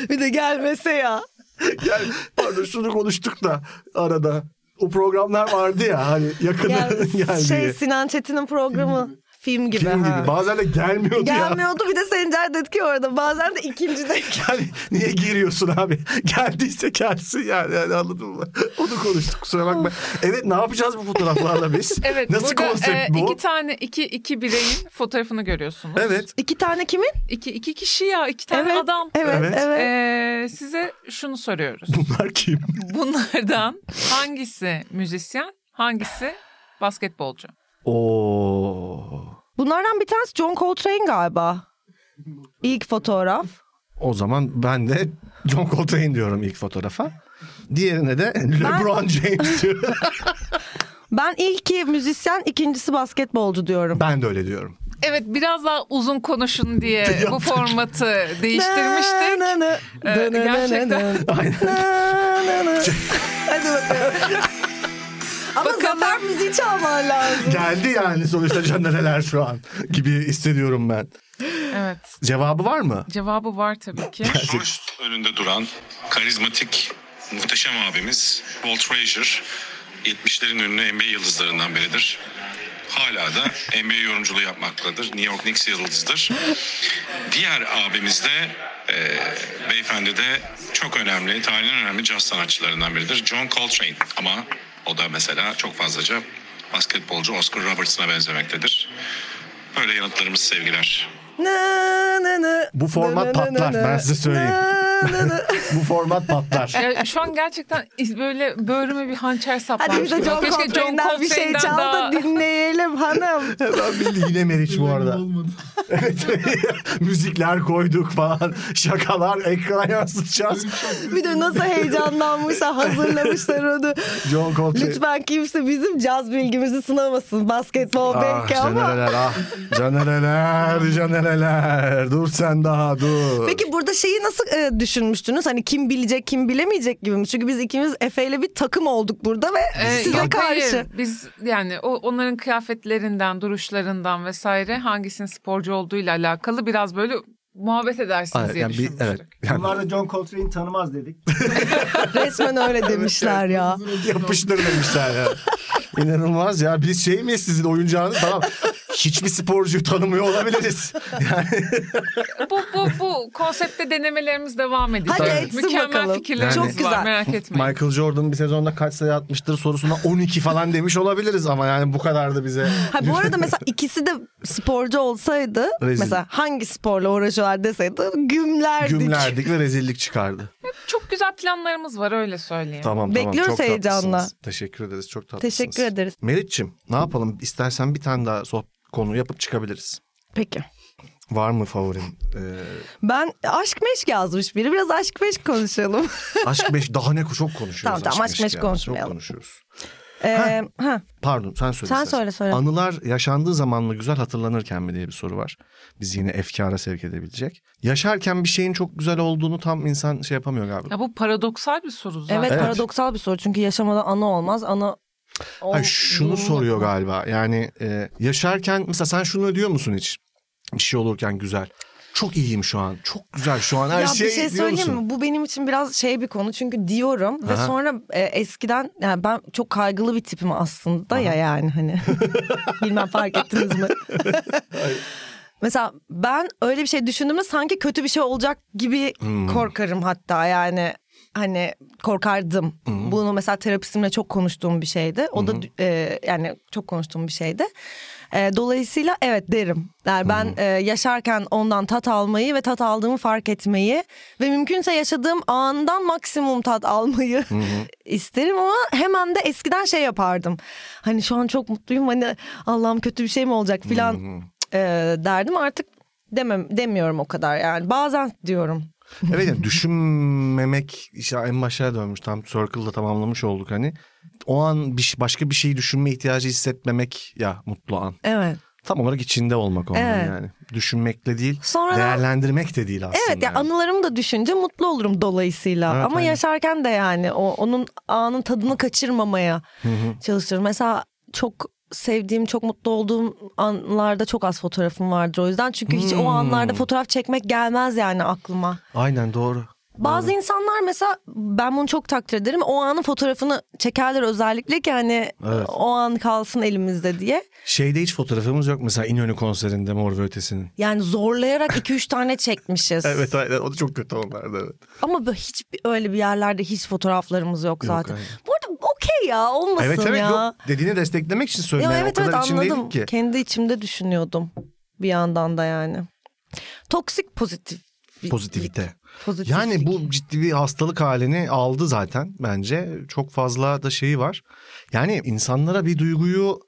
[SPEAKER 1] bir de gelmese ya.
[SPEAKER 3] Yani, pardon şunu konuştuk da arada. O programlar vardı ya hani yakın
[SPEAKER 1] Gel,
[SPEAKER 3] geldi.
[SPEAKER 1] şey
[SPEAKER 3] Şey,
[SPEAKER 1] Sinan Çetin'in programı film gibi.
[SPEAKER 3] Film
[SPEAKER 1] ha.
[SPEAKER 3] gibi. Bazen de gelmiyordu ya.
[SPEAKER 1] Gelmiyordu bir de Sencer dedi ki orada bazen de ikinci de
[SPEAKER 3] Yani niye giriyorsun abi? Geldiyse gelsin yani, yani anladın mı? Onu konuştuk kusura bakma. Evet ne yapacağız bu fotoğraflarla biz?
[SPEAKER 5] Evet
[SPEAKER 3] Nasıl
[SPEAKER 5] burada
[SPEAKER 3] konsept
[SPEAKER 5] e,
[SPEAKER 3] bu?
[SPEAKER 5] iki tane iki iki bireyin fotoğrafını görüyorsunuz.
[SPEAKER 3] Evet.
[SPEAKER 1] iki tane kimin?
[SPEAKER 5] İki, iki kişi ya iki tane
[SPEAKER 1] evet,
[SPEAKER 5] adam.
[SPEAKER 1] Evet
[SPEAKER 3] Evet.
[SPEAKER 1] evet.
[SPEAKER 5] Ee, size şunu soruyoruz.
[SPEAKER 3] Bunlar kim?
[SPEAKER 5] Bunlardan hangisi müzisyen, hangisi basketbolcu?
[SPEAKER 3] Oo.
[SPEAKER 1] Bunlardan bir tanesi John Coltrane galiba. İlk fotoğraf.
[SPEAKER 3] O zaman ben de John Coltrane diyorum ilk fotoğrafa. Diğerine de LeBron James diyorum.
[SPEAKER 1] Ben ilki müzisyen, ikincisi basketbolcu diyorum.
[SPEAKER 3] ben de öyle diyorum.
[SPEAKER 5] Evet biraz daha uzun konuşun diye bu formatı değiştirmiştik.
[SPEAKER 1] Na, na, na,
[SPEAKER 5] Ee,
[SPEAKER 1] na, na, na,
[SPEAKER 5] gerçekten.
[SPEAKER 1] na, na, na, na. Hadi bakalım. Ama
[SPEAKER 5] Bakalım.
[SPEAKER 1] zafer müziği çalman lazım.
[SPEAKER 3] Geldi yani sonuçta canereler şu an gibi hissediyorum ben.
[SPEAKER 5] Evet
[SPEAKER 3] Cevabı var mı?
[SPEAKER 5] cevabı var tabii ki.
[SPEAKER 6] Sonuç önünde duran karizmatik muhteşem abimiz Walt Frazier 70'lerin ünlü NBA yıldızlarından biridir. Hala da NBA yorumculuğu yapmaktadır. New York Knicks yıldızıdır. Diğer abimiz de e, beyefendi de çok önemli, tarihin en önemli caz sanatçılarından biridir. John Coltrane ama o da mesela çok fazlaca basketbolcu Oscar Robertson'a benzemektedir. Böyle yanıtlarımız sevgiler.
[SPEAKER 1] Na, na, na.
[SPEAKER 3] Bu format
[SPEAKER 1] Na, na, na,
[SPEAKER 3] patlar,
[SPEAKER 1] na.
[SPEAKER 3] ben size söyleyeyim.
[SPEAKER 1] Na, na, na.
[SPEAKER 3] Bu format patlar.
[SPEAKER 5] Ya şu an gerçekten böyle böğrüme bir hançer saplanmış.
[SPEAKER 1] Hadi bize
[SPEAKER 5] gibi.
[SPEAKER 1] John
[SPEAKER 5] Keşke
[SPEAKER 1] Coltrane'den bir şey
[SPEAKER 5] Coltrane'den
[SPEAKER 1] çal da
[SPEAKER 5] daha-
[SPEAKER 1] dinleyelim hanım.
[SPEAKER 3] ben bildi yine Meriç bu arada. evet, müzikler koyduk falan. Şakalar, ekran yansıtacağız.
[SPEAKER 1] Bir de nasıl heyecanlanmışlar, hazırlamışlar onu.
[SPEAKER 3] John Coltrane.
[SPEAKER 1] Lütfen kimse bizim caz bilgimizi sınamasın basketbol
[SPEAKER 3] Ah
[SPEAKER 1] belki ama.
[SPEAKER 3] canereler ah. Canereler, canereler. Dur sen daha dur.
[SPEAKER 1] Peki burada şeyi nasıl e, düşünmüştünüz? Hani kim bilecek kim bilemeyecek gibi mi? Çünkü biz ikimiz Efe ile bir takım olduk burada ve
[SPEAKER 5] Ee,
[SPEAKER 1] size
[SPEAKER 5] yok,
[SPEAKER 1] karşı.
[SPEAKER 5] hayır. Biz yani o onların kıyafetlerinden, duruşlarından vesaire hangisinin sporcu olduğuyla alakalı biraz böyle muhabbet edersiniz
[SPEAKER 3] Ay,
[SPEAKER 5] diye
[SPEAKER 3] yani bir,
[SPEAKER 5] düşünmüştük.
[SPEAKER 3] evet. Yani
[SPEAKER 4] Bunlar da John Coltrane'i tanımaz dedik.
[SPEAKER 1] Resmen öyle demişler ya.
[SPEAKER 3] yapıştırmamışlar ya. İnanılmaz ya. Biz şey miyiz sizin oyuncağınız? Tamam. Hiçbir sporcuyu tanımıyor olabiliriz.
[SPEAKER 5] Bu, bu, bu konsepte denemelerimiz devam ediyor.
[SPEAKER 1] Hadi
[SPEAKER 5] Evet.
[SPEAKER 1] etsin
[SPEAKER 5] Mükemmel
[SPEAKER 1] bakalım.
[SPEAKER 5] fikirlerimiz
[SPEAKER 3] Yani-
[SPEAKER 5] var
[SPEAKER 1] Çok güzel.
[SPEAKER 5] merak etmeyin.
[SPEAKER 3] Michael Jordan bir sezonda kaç sayı atmıştır sorusuna 12 falan demiş olabiliriz ama yani bu kadar da bize.
[SPEAKER 1] Ha, bu arada mesela ikisi de sporcu olsaydı
[SPEAKER 3] Rezil.
[SPEAKER 1] mesela hangi sporla uğraşıyorlar deseydi gümlerdik.
[SPEAKER 3] Gümlerdik ve rezillik çıkardı.
[SPEAKER 5] Çok güzel planlarımız var öyle söyleyeyim.
[SPEAKER 3] Tamam tamam.
[SPEAKER 1] Bekliyoruz
[SPEAKER 3] Çok tatlısınız.
[SPEAKER 1] heyecanla.
[SPEAKER 3] Teşekkür ederiz. Çok tatlısınız.
[SPEAKER 1] Teşekkür ederiz.
[SPEAKER 3] Meriç'im ne yapalım? İstersen bir tane daha sohbet konu yapıp çıkabiliriz.
[SPEAKER 1] Peki.
[SPEAKER 3] Var mı favorin? Ee,
[SPEAKER 1] Ben aşk meşk yazmış biri. Biraz aşk meşk konuşalım.
[SPEAKER 3] aşk meş daha ne çok konuşuyoruz.
[SPEAKER 1] Tamam, tamam, aşk meşk
[SPEAKER 3] ya.
[SPEAKER 1] konuşmayalım.
[SPEAKER 3] Çok konuşuyoruz.
[SPEAKER 1] Ee, ha.
[SPEAKER 3] Pardon sen söyle.
[SPEAKER 1] Sen
[SPEAKER 3] istersen.
[SPEAKER 1] söyle, söyle.
[SPEAKER 3] Anılar yaşandığı zaman mı güzel hatırlanırken mi diye bir soru var. Bizi yine efkara sevk edebilecek. Yaşarken bir şeyin çok güzel olduğunu tam insan şey yapamıyor galiba.
[SPEAKER 5] Ya bu paradoksal bir soru zaten.
[SPEAKER 1] Evet,
[SPEAKER 3] Evet.
[SPEAKER 1] paradoksal bir soru. Çünkü yaşamadan anı olmaz. Anı ol-
[SPEAKER 3] Ay, şunu
[SPEAKER 1] bulunmaz.
[SPEAKER 3] soruyor galiba. Yani e, yaşarken mesela sen şunu diyor musun hiç? Bir şey olurken güzel. Çok iyiyim şu an. Çok güzel şu an. Her
[SPEAKER 1] ya
[SPEAKER 3] şey,
[SPEAKER 1] bir şey
[SPEAKER 3] diyor
[SPEAKER 1] söyleyeyim
[SPEAKER 3] musun?
[SPEAKER 1] mi? Bu benim için biraz şey bir konu çünkü diyorum ve
[SPEAKER 3] Aha.
[SPEAKER 1] sonra e, eskiden yani ben çok kaygılı bir tipim aslında ya yani hani bilmem fark ettiniz mi? Mesela ben öyle bir şey düşündüğümde sanki kötü bir şey olacak gibi korkarım hatta yani hani korkardım. Bunu mesela terapistimle çok konuştuğum bir şeydi. O da e, yani çok konuştuğum bir şeydi. E, dolayısıyla evet derim. Yani ben e, yaşarken ondan tat almayı ve tat aldığımı fark etmeyi ve mümkünse yaşadığım andan maksimum tat almayı isterim ama hemen de eskiden şey yapardım. Hani şu an çok mutluyum hani Allah'ım kötü bir şey mi olacak filan e, derdim artık demem demiyorum o kadar yani bazen diyorum.
[SPEAKER 3] Evet yani düşünmemek işte en başa dönmüş tam circle'da tamamlamış olduk hani. O an bir, şey- başka bir şeyi düşünme ihtiyacı hissetmemek ya mutlu an.
[SPEAKER 1] Evet.
[SPEAKER 3] Tam olarak içinde olmak ondan
[SPEAKER 1] Evet.
[SPEAKER 3] yani. Düşünmekle değil
[SPEAKER 1] Sonra da-
[SPEAKER 3] değerlendirmek de değil aslında.
[SPEAKER 1] Evet ya
[SPEAKER 3] yani.
[SPEAKER 1] anılarımı da düşünce mutlu olurum dolayısıyla.
[SPEAKER 3] Evet,
[SPEAKER 1] Ama
[SPEAKER 3] aynen.
[SPEAKER 1] yaşarken de yani o onun anın tadını kaçırmamaya çalışıyorum. Mesela çok sevdiğim, çok mutlu olduğum anlarda çok az fotoğrafım vardır o yüzden. Çünkü hiç
[SPEAKER 3] Hmm.
[SPEAKER 1] o anlarda fotoğraf çekmek gelmez yani aklıma.
[SPEAKER 3] Aynen doğru.
[SPEAKER 1] Bazı insanlar mesela ben bunu çok takdir ederim. O anın fotoğrafını çekerler özellikle ki hani
[SPEAKER 3] Evet.
[SPEAKER 1] o an kalsın elimizde diye.
[SPEAKER 3] Şeyde hiç fotoğrafımız yok mesela İnönü konserinde Mor ve Ötesi'nin.
[SPEAKER 1] Yani zorlayarak 2-3 tane çekmişiz.
[SPEAKER 3] Evet aynen o da çok kötü onlarda evet.
[SPEAKER 1] Ama böyle hiç öyle bir yerlerde hiç fotoğraflarımız yok zaten.
[SPEAKER 3] aynen.
[SPEAKER 1] Bu arada okey ya olmasın
[SPEAKER 3] evet evet
[SPEAKER 1] ya.
[SPEAKER 3] yok dediğini desteklemek için
[SPEAKER 1] Ya
[SPEAKER 3] söylüyorum. yani,
[SPEAKER 1] evet
[SPEAKER 3] o
[SPEAKER 1] evet
[SPEAKER 3] kadar
[SPEAKER 1] anladım.
[SPEAKER 3] içindeydik ki.
[SPEAKER 1] Kendi içimde düşünüyordum bir yandan da yani. Toksik pozitif.
[SPEAKER 3] Pozitivite.
[SPEAKER 1] Pozitiflik.
[SPEAKER 3] Yani bu ciddi bir hastalık halini aldı zaten bence. Çok fazla da şeyi var. Yani insanlara bir duyguyu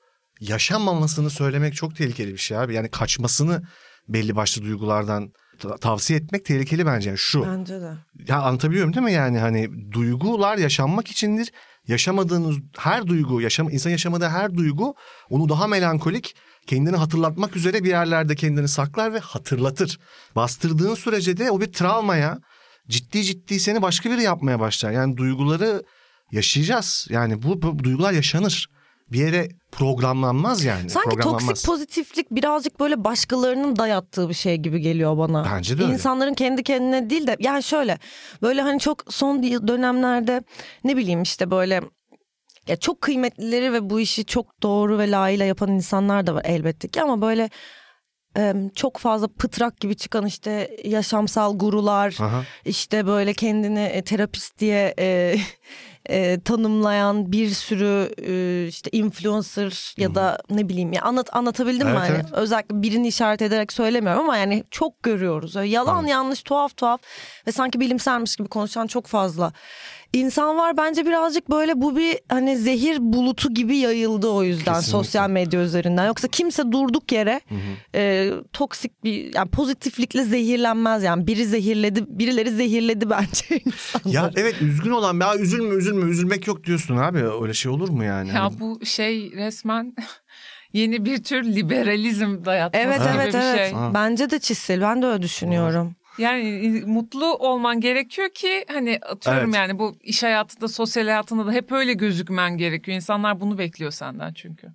[SPEAKER 3] yaşanmamasını söylemek çok tehlikeli bir şey abi. Yani kaçmasını belli başlı duygulardan ta- tavsiye etmek tehlikeli bence. Yani şu.
[SPEAKER 1] Bence de.
[SPEAKER 3] Ya anlatabiliyorum değil mi yani hani duygular yaşanmak içindir. Yaşamadığınız her duygu, yaşam, insan yaşamadığı her duygu onu daha melankolik kendini hatırlatmak üzere bir yerlerde kendini saklar ve hatırlatır. Bastırdığın sürece de o bir travmaya ciddi ciddi seni başka biri yapmaya başlar. Yani duyguları yaşayacağız. Yani bu, bu duygular yaşanır. Bir yere programlanmaz yani.
[SPEAKER 1] Sanki
[SPEAKER 3] programlanmaz.
[SPEAKER 1] toksik pozitiflik birazcık böyle başkalarının dayattığı bir şey gibi geliyor bana.
[SPEAKER 3] Bence de öyle.
[SPEAKER 1] İnsanların kendi kendine değil de yani şöyle böyle hani çok son dönemlerde ne bileyim işte böyle ya çok kıymetlileri ve bu işi çok doğru ve layığıyla yapan insanlar da var elbette ki ama böyle e, çok fazla pıtrak gibi çıkan işte yaşamsal gurular
[SPEAKER 3] Aha.
[SPEAKER 1] işte böyle kendini e, terapist diye e, e, tanımlayan bir sürü e, işte influencer ya da ne bileyim ya anlat anlatabildim mi
[SPEAKER 3] Evet,
[SPEAKER 1] hani
[SPEAKER 3] evet.
[SPEAKER 1] özellikle birini işaret ederek söylemiyorum ama yani çok görüyoruz Öyle yalan yanlış tuhaf tuhaf ve sanki bilimselmiş gibi konuşan çok fazla insan var bence birazcık böyle bu bir hani zehir bulutu gibi yayıldı o yüzden
[SPEAKER 3] Kesinlikle.
[SPEAKER 1] sosyal medya üzerinden yoksa kimse durduk yere e, toksik bir yani pozitiflikle zehirlenmez yani biri zehirledi birileri zehirledi bence insanları.
[SPEAKER 3] Ya evet üzgün olan ya üzülme üzülme üzülmek yok diyorsun abi öyle şey olur mu yani? Hani-
[SPEAKER 5] Ya bu şey resmen yeni bir tür liberalizm dayatması
[SPEAKER 1] Evet
[SPEAKER 5] gibi
[SPEAKER 1] evet
[SPEAKER 5] bir
[SPEAKER 1] evet.
[SPEAKER 5] şey.
[SPEAKER 3] Ha.
[SPEAKER 1] Bence de çizsel. Ben de öyle düşünüyorum.
[SPEAKER 5] Yani mutlu olman gerekiyor ki hani atıyorum
[SPEAKER 3] Evet.
[SPEAKER 5] yani bu iş hayatında, sosyal hayatında da hep öyle gözükmen gerekiyor. İnsanlar bunu bekliyor senden çünkü.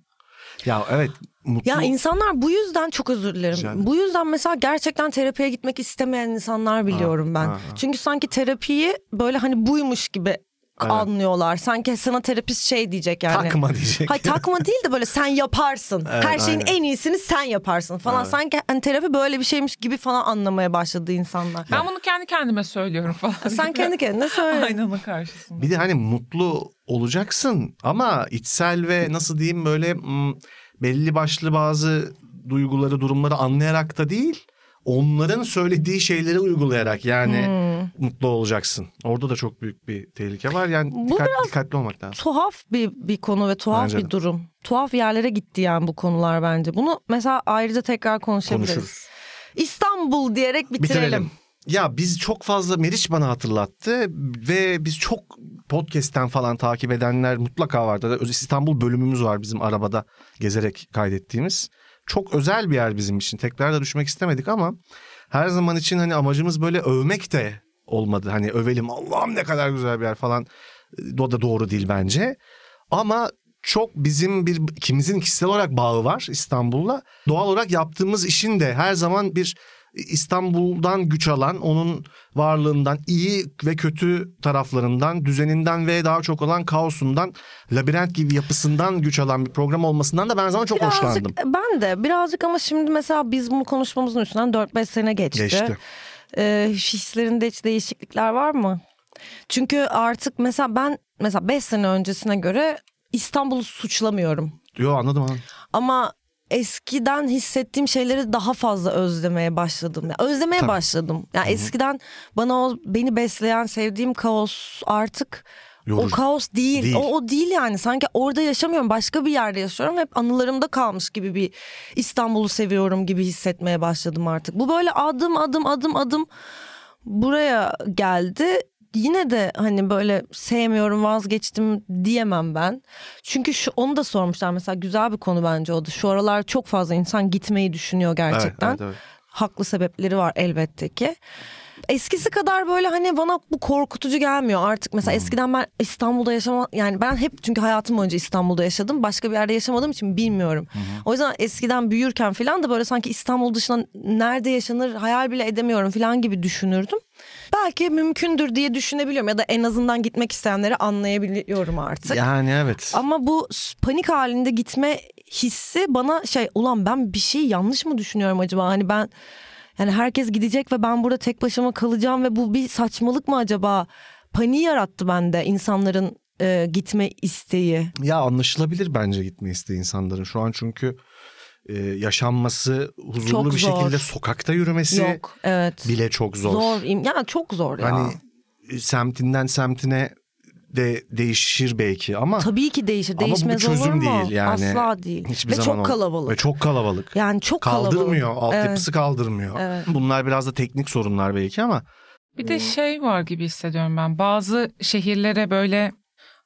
[SPEAKER 3] Ya evet mutlu.
[SPEAKER 1] Ya insanlar bu yüzden çok özür dilerim.
[SPEAKER 3] Rica ederim.
[SPEAKER 1] Bu yüzden mesela gerçekten terapiye gitmek istemeyen insanlar biliyorum ben.
[SPEAKER 3] ha, ha.
[SPEAKER 1] Çünkü sanki terapiyi böyle hani buymuş gibi anlıyorlar. Sanki sana terapist şey diyecek yani.
[SPEAKER 3] takma diyecek.
[SPEAKER 1] Hayır takma değil de böyle sen yaparsın.
[SPEAKER 3] Evet,
[SPEAKER 1] Her şeyin
[SPEAKER 3] aynen.
[SPEAKER 1] en iyisini sen yaparsın falan.
[SPEAKER 3] Evet.
[SPEAKER 1] Sanki hani terapi böyle bir şeymiş gibi falan anlamaya başladı insanlar.
[SPEAKER 5] Ben bunu kendi kendime söylüyorum falan.
[SPEAKER 1] Sen kendi kendine söyle.
[SPEAKER 5] Aynanın karşısında.
[SPEAKER 3] Bir de hani mutlu olacaksın ama içsel ve nasıl diyeyim böyle mm, belli başlı bazı duyguları durumları anlayarak da değil onların söylediği şeyleri uygulayarak yani
[SPEAKER 1] Hmm.
[SPEAKER 3] mutlu olacaksın. Orada da çok büyük bir tehlike var yani
[SPEAKER 1] Bu
[SPEAKER 3] dikkat- dikkatli olmak lazım.
[SPEAKER 1] tuhaf bir bir konu ve tuhaf
[SPEAKER 3] Bence
[SPEAKER 1] bir
[SPEAKER 3] de.
[SPEAKER 1] durum. Tuhaf yerlere gitti yani bu konular bence. Bunu mesela ayrıca tekrar konuşabiliriz.
[SPEAKER 3] Konuşuruz.
[SPEAKER 1] İstanbul diyerek bitirelim.
[SPEAKER 3] Bitirelim. Ya biz çok fazla Meriç bana hatırlattı ve biz çok podcast'ten falan takip edenler mutlaka vardı. Öz- İstanbul bölümümüz var bizim arabada gezerek kaydettiğimiz. Çok özel bir yer bizim için. Tekrar da düşmek istemedik ama her zaman için hani amacımız böyle övmek de olmadı. Hani övelim Allah'ım ne kadar güzel bir yer falan. E, O da doğru değil bence. Ama çok bizim bir ikimizin kişisel olarak bağı var İstanbul'la. Doğal olarak yaptığımız işin de her zaman bir İstanbul'dan güç alan, onun varlığından, iyi ve kötü taraflarından, düzeninden ve daha çok olan kaosundan, labirent gibi yapısından güç alan bir program olmasından da ben her zaman çok hoşlandım.
[SPEAKER 1] Birazcık ben de birazcık ama şimdi mesela biz bunu konuşmamızın üstünden 4-5 sene geçti.
[SPEAKER 3] Geçti.
[SPEAKER 1] Ee, hislerinde hiç değişiklikler var mı? Çünkü artık mesela ben mesela 5 sene öncesine göre İstanbul'u suçlamıyorum.
[SPEAKER 3] Yo anladım anladım.
[SPEAKER 1] Ama eskiden hissettiğim şeyleri daha fazla özlemeye başladım. Yani özlemeye
[SPEAKER 3] Tabii.
[SPEAKER 1] başladım. Yani eskiden bana o beni besleyen sevdiğim kaos artık
[SPEAKER 3] Yorucu.
[SPEAKER 1] o kaos değil.
[SPEAKER 3] Değil.
[SPEAKER 1] O, o değil yani. Sanki orada yaşamıyorum. Başka bir yerde yaşıyorum. Hep anılarımda kalmış gibi bir İstanbul'u seviyorum gibi hissetmeye başladım artık. Bu böyle adım adım adım adım buraya geldi. Yine de hani böyle sevmiyorum vazgeçtim diyemem ben. Çünkü şu onu da sormuşlar mesela güzel bir konu bence o da. Şu aralar çok fazla insan gitmeyi düşünüyor gerçekten.
[SPEAKER 3] Evet, evet, evet.
[SPEAKER 1] Haklı sebepleri var elbette ki. Eskisi kadar böyle hani bana bu korkutucu gelmiyor artık. Mesela eskiden ben İstanbul'da yaşama yani ben hep çünkü hayatım boyunca İstanbul'da yaşadım. Başka bir yerde yaşamadığım için bilmiyorum. O yüzden eskiden büyürken falan da böyle sanki İstanbul dışında nerede yaşanır hayal bile edemiyorum falan gibi düşünürdüm. Belki mümkündür diye düşünebiliyorum ya da en azından gitmek isteyenleri anlayabiliyorum artık.
[SPEAKER 3] Yani evet.
[SPEAKER 1] Ama bu s- panik halinde gitme hissi bana şey ulan ben bir şey yanlış mı düşünüyorum acaba? Hani ben yani herkes gidecek ve ben burada tek başıma kalacağım ve bu bir saçmalık mı acaba? Paniği yarattı bende insanların e, gitme isteği.
[SPEAKER 3] Ya anlaşılabilir bence gitme isteği insanların şu an çünkü e, yaşanması huzurlu
[SPEAKER 1] Çok
[SPEAKER 3] bir
[SPEAKER 1] zor.
[SPEAKER 3] şekilde sokakta yürümesi
[SPEAKER 1] Yok evet.
[SPEAKER 3] bile çok zor.
[SPEAKER 1] Zor. im- Ya çok zor ya.
[SPEAKER 3] Hani e, semtinden Hani, semtine de değişir belki ama
[SPEAKER 1] Tabii ki değişir.
[SPEAKER 3] Ama bu bir
[SPEAKER 1] Değişmez olur
[SPEAKER 3] çözüm
[SPEAKER 1] mu?
[SPEAKER 3] değil yani.
[SPEAKER 1] Asla değil.
[SPEAKER 3] hiçbir
[SPEAKER 1] Ve
[SPEAKER 3] zaman
[SPEAKER 1] çok
[SPEAKER 3] olmaz.
[SPEAKER 1] kalabalık.
[SPEAKER 3] Ve çok kalabalık.
[SPEAKER 1] Yani çok
[SPEAKER 3] kaldırmıyor.
[SPEAKER 1] kalabalık.
[SPEAKER 3] Altyapısı kaldırmıyor. Bunlar biraz da teknik sorunlar belki ama
[SPEAKER 5] Bir de şey var gibi hissediyorum ben. Bazı şehirlere böyle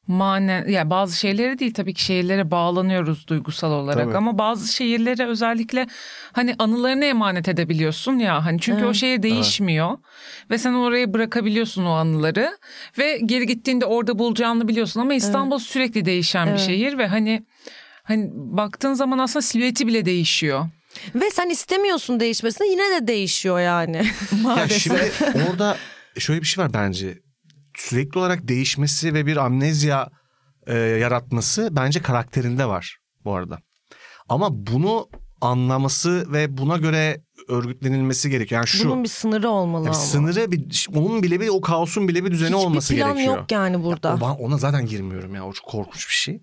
[SPEAKER 5] manen ya bazı şehirlere değil tabii ki şehirlere bağlanıyoruz duygusal olarak
[SPEAKER 3] Tabii.
[SPEAKER 5] ama bazı şehirlere özellikle hani anılarını emanet edebiliyorsun ya hani çünkü o şehir değişmiyor ve sen oraya bırakabiliyorsun o anıları ve geri gittiğinde orada bulacağını biliyorsun ama İstanbul sürekli değişen bir şehir ve hani hani baktığın zaman aslında silüeti bile değişiyor.
[SPEAKER 1] Ve sen istemiyorsun değişmesini yine de değişiyor yani.
[SPEAKER 3] Ya
[SPEAKER 1] Maalesef.
[SPEAKER 3] şimdi orada şöyle bir şey var bence. Sürekli olarak değişmesi ve bir amnezya e, yaratması bence karakterinde var bu arada. Ama bunu anlaması ve buna göre örgütlenilmesi gerekiyor. Yani şu
[SPEAKER 1] Bunun bir sınırı olmalı
[SPEAKER 3] yani
[SPEAKER 1] ama.
[SPEAKER 3] sınırı bir onun bile bir o kaosun bile bir düzeni
[SPEAKER 1] Hiçbir
[SPEAKER 3] olması
[SPEAKER 1] plan
[SPEAKER 3] gerekiyor.
[SPEAKER 1] yok yani burada.
[SPEAKER 3] O ben ona zaten girmiyorum ya o çok korkunç bir şey.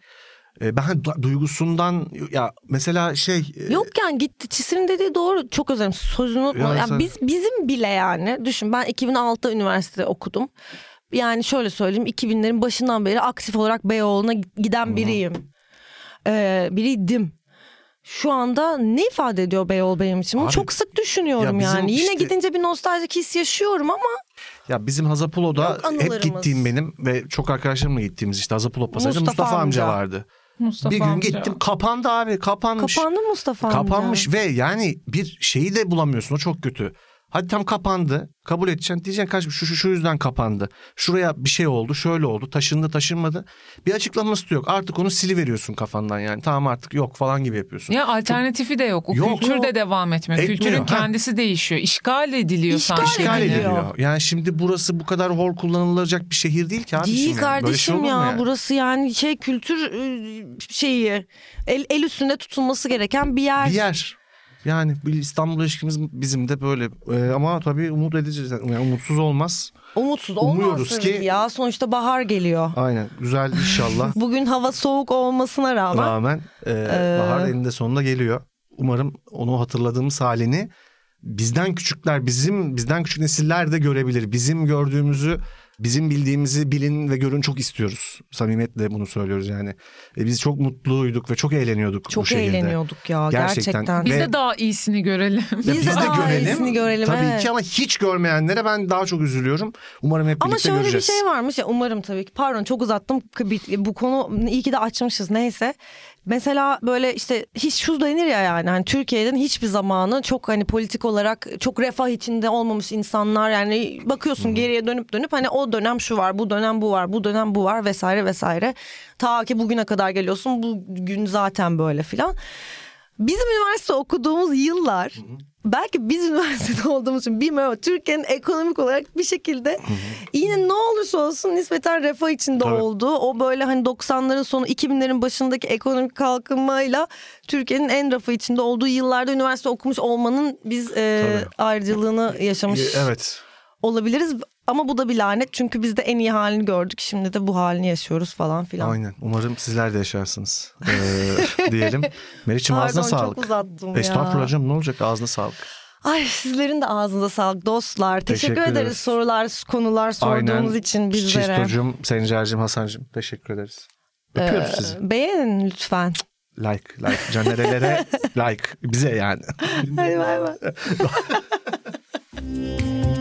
[SPEAKER 3] E, Ben du- duygusundan ya mesela şey e,
[SPEAKER 1] Yok yani gitti. Çisin'in dediği doğru. Çok özür dilerim. Sözünü unutma.
[SPEAKER 3] Ya
[SPEAKER 1] Ya
[SPEAKER 3] sen-
[SPEAKER 1] biz bizim bile yani düşün ben 2006'da üniversite okudum. Yani şöyle söyleyeyim 2000'lerin başından beri aktif olarak Beyoğlu'na giden biriyim. Ee, biriydim. Şu anda ne ifade ediyor Beyoğlu benim için? Bunu
[SPEAKER 3] Abi,
[SPEAKER 1] çok sık düşünüyorum
[SPEAKER 3] ya bizim
[SPEAKER 1] yani. Yine
[SPEAKER 3] işte-
[SPEAKER 1] gidince bir nostaljik his yaşıyorum ama
[SPEAKER 3] Ya bizim Hazapulo'da
[SPEAKER 1] Yok anılarımız.
[SPEAKER 3] hep gittiğim benim ve çok arkadaşlarımla gittiğimiz işte Hazapulo pasajında
[SPEAKER 1] Mustafa
[SPEAKER 3] Mustafa, amca
[SPEAKER 1] amca.
[SPEAKER 3] vardı.
[SPEAKER 5] Mustafa
[SPEAKER 3] bir gün
[SPEAKER 5] amca.
[SPEAKER 3] gittim kapandı abi kapanmış.
[SPEAKER 1] kapandı Mustafa amca.
[SPEAKER 3] Kapanmış ve yani bir şeyi de bulamıyorsun o çok kötü. Hadi tam kapandı kabul edeceksin diyeceksin kaç şu şu şu yüzden kapandı. Şuraya bir şey oldu şöyle oldu taşındı taşınmadı. Bir açıklaması da yok artık onu siliveriyorsun kafandan yani tamam artık yok falan gibi yapıyorsun.
[SPEAKER 5] Ya alternatifi de yok. O
[SPEAKER 3] Yok.
[SPEAKER 5] kültür de devam etmiyor.
[SPEAKER 3] Etmiyor,
[SPEAKER 5] Kültürün
[SPEAKER 3] ha.
[SPEAKER 5] kendisi değişiyor. İşgal ediliyor
[SPEAKER 1] İşgal
[SPEAKER 5] sanki.
[SPEAKER 3] İşgal
[SPEAKER 1] ediliyor.
[SPEAKER 3] ediliyor. Yani şimdi burası bu kadar hor kullanılacak bir şehir değil ki abi.
[SPEAKER 1] Değil
[SPEAKER 3] şimdi. Böyle şey
[SPEAKER 1] kardeşim
[SPEAKER 3] olur mu
[SPEAKER 1] ya
[SPEAKER 3] yani?
[SPEAKER 1] burası yani şey kültür e, şeyi el, el üstünde tutulması gereken bir yer.
[SPEAKER 3] bir yer. Yani bu İstanbul ilişkimiz bizim de böyle Ee, ama tabii umut edeceğiz. Yani umutsuz olmaz.
[SPEAKER 1] Umutsuz
[SPEAKER 3] Umuyoruz
[SPEAKER 1] olmaz ki...
[SPEAKER 3] ki-
[SPEAKER 1] ya sonuçta bahar geliyor.
[SPEAKER 3] Aynen güzel inşallah
[SPEAKER 1] Bugün hava soğuk olmasına rağmen
[SPEAKER 3] rağmen e, bahar eninde sonunda geliyor. Umarım onu hatırladığımız halini bizden küçükler bizim bizden küçük nesiller de görebilir. Bizim gördüğümüzü bizim bildiğimizi bilin ve görün çok istiyoruz. Samimiyetle bunu söylüyoruz yani. E, biz çok mutluyduk ve çok eğleniyorduk bu
[SPEAKER 1] çok
[SPEAKER 3] şehirde.
[SPEAKER 1] eğleniyorduk ya
[SPEAKER 3] Gerçekten.
[SPEAKER 1] gerçekten.
[SPEAKER 5] Biz
[SPEAKER 3] Ve-
[SPEAKER 5] de daha iyisini görelim.
[SPEAKER 3] Ya
[SPEAKER 1] Biz de daha iyisini görelim,
[SPEAKER 3] Tabii
[SPEAKER 1] evet.
[SPEAKER 3] ki ama hiç görmeyenlere ben daha çok üzülüyorum. Umarım hep
[SPEAKER 1] Ama
[SPEAKER 3] birlikte
[SPEAKER 1] şöyle
[SPEAKER 3] göreceğiz.
[SPEAKER 1] bir şey varmış ya umarım tabii ki pardon çok uzattım Bir- bu konu iyi ki de açmışız neyse. Mesela böyle işte hiç şu denir ya yani hani Türkiye'nin hiçbir zamanı çok hani politik olarak çok refah içinde olmamış insanlar yani bakıyorsun geriye dönüp dönüp hani o dönem şu var bu dönem bu var bu dönem bu var vesaire vesaire. Ta ki bugüne kadar geliyorsun bugün zaten böyle filan. Bizim üniversite okuduğumuz yıllar belki biz üniversitede olduğumuz için bilmiyorum ama Türkiye'nin ekonomik olarak bir şekilde yine ne olursa olsun nispeten refah içinde
[SPEAKER 3] Tabii.
[SPEAKER 1] olduğu o böyle hani 90'ların sonu 2000'lerin başındaki ekonomik kalkınmayla Türkiye'nin en refah içinde olduğu yıllarda üniversite okumuş olmanın biz e, ayrıcalığını yaşamış
[SPEAKER 3] E, Evet.
[SPEAKER 1] olabiliriz. Ama bu da bir lanet çünkü biz de en iyi halini gördük şimdi de bu halini yaşıyoruz falan filan.
[SPEAKER 3] Aynen. Umarım sizler de yaşarsınız. Ee, diyelim. Meriç'im
[SPEAKER 1] Pardon
[SPEAKER 3] ağzına
[SPEAKER 1] çok
[SPEAKER 3] sağlık.
[SPEAKER 1] uzattım ya.
[SPEAKER 3] Estağfurullah canım ne olacak ağzına sağlık.
[SPEAKER 1] Ay sizlerin de ağzınıza sağlık dostlar. Teşekkür,
[SPEAKER 3] Teşekkür
[SPEAKER 1] ederiz
[SPEAKER 3] ederiz.
[SPEAKER 1] sorular, konular sorduğunuz için bizlere.
[SPEAKER 3] Çistocuğum, Sencer'cim, Hasan'cım teşekkür ederiz.
[SPEAKER 1] Ee,
[SPEAKER 3] Öpüyoruz sizi.
[SPEAKER 1] Beğenin lütfen.
[SPEAKER 3] Like, like. Canerelere like. Bize yani.
[SPEAKER 1] Hadi bay bay.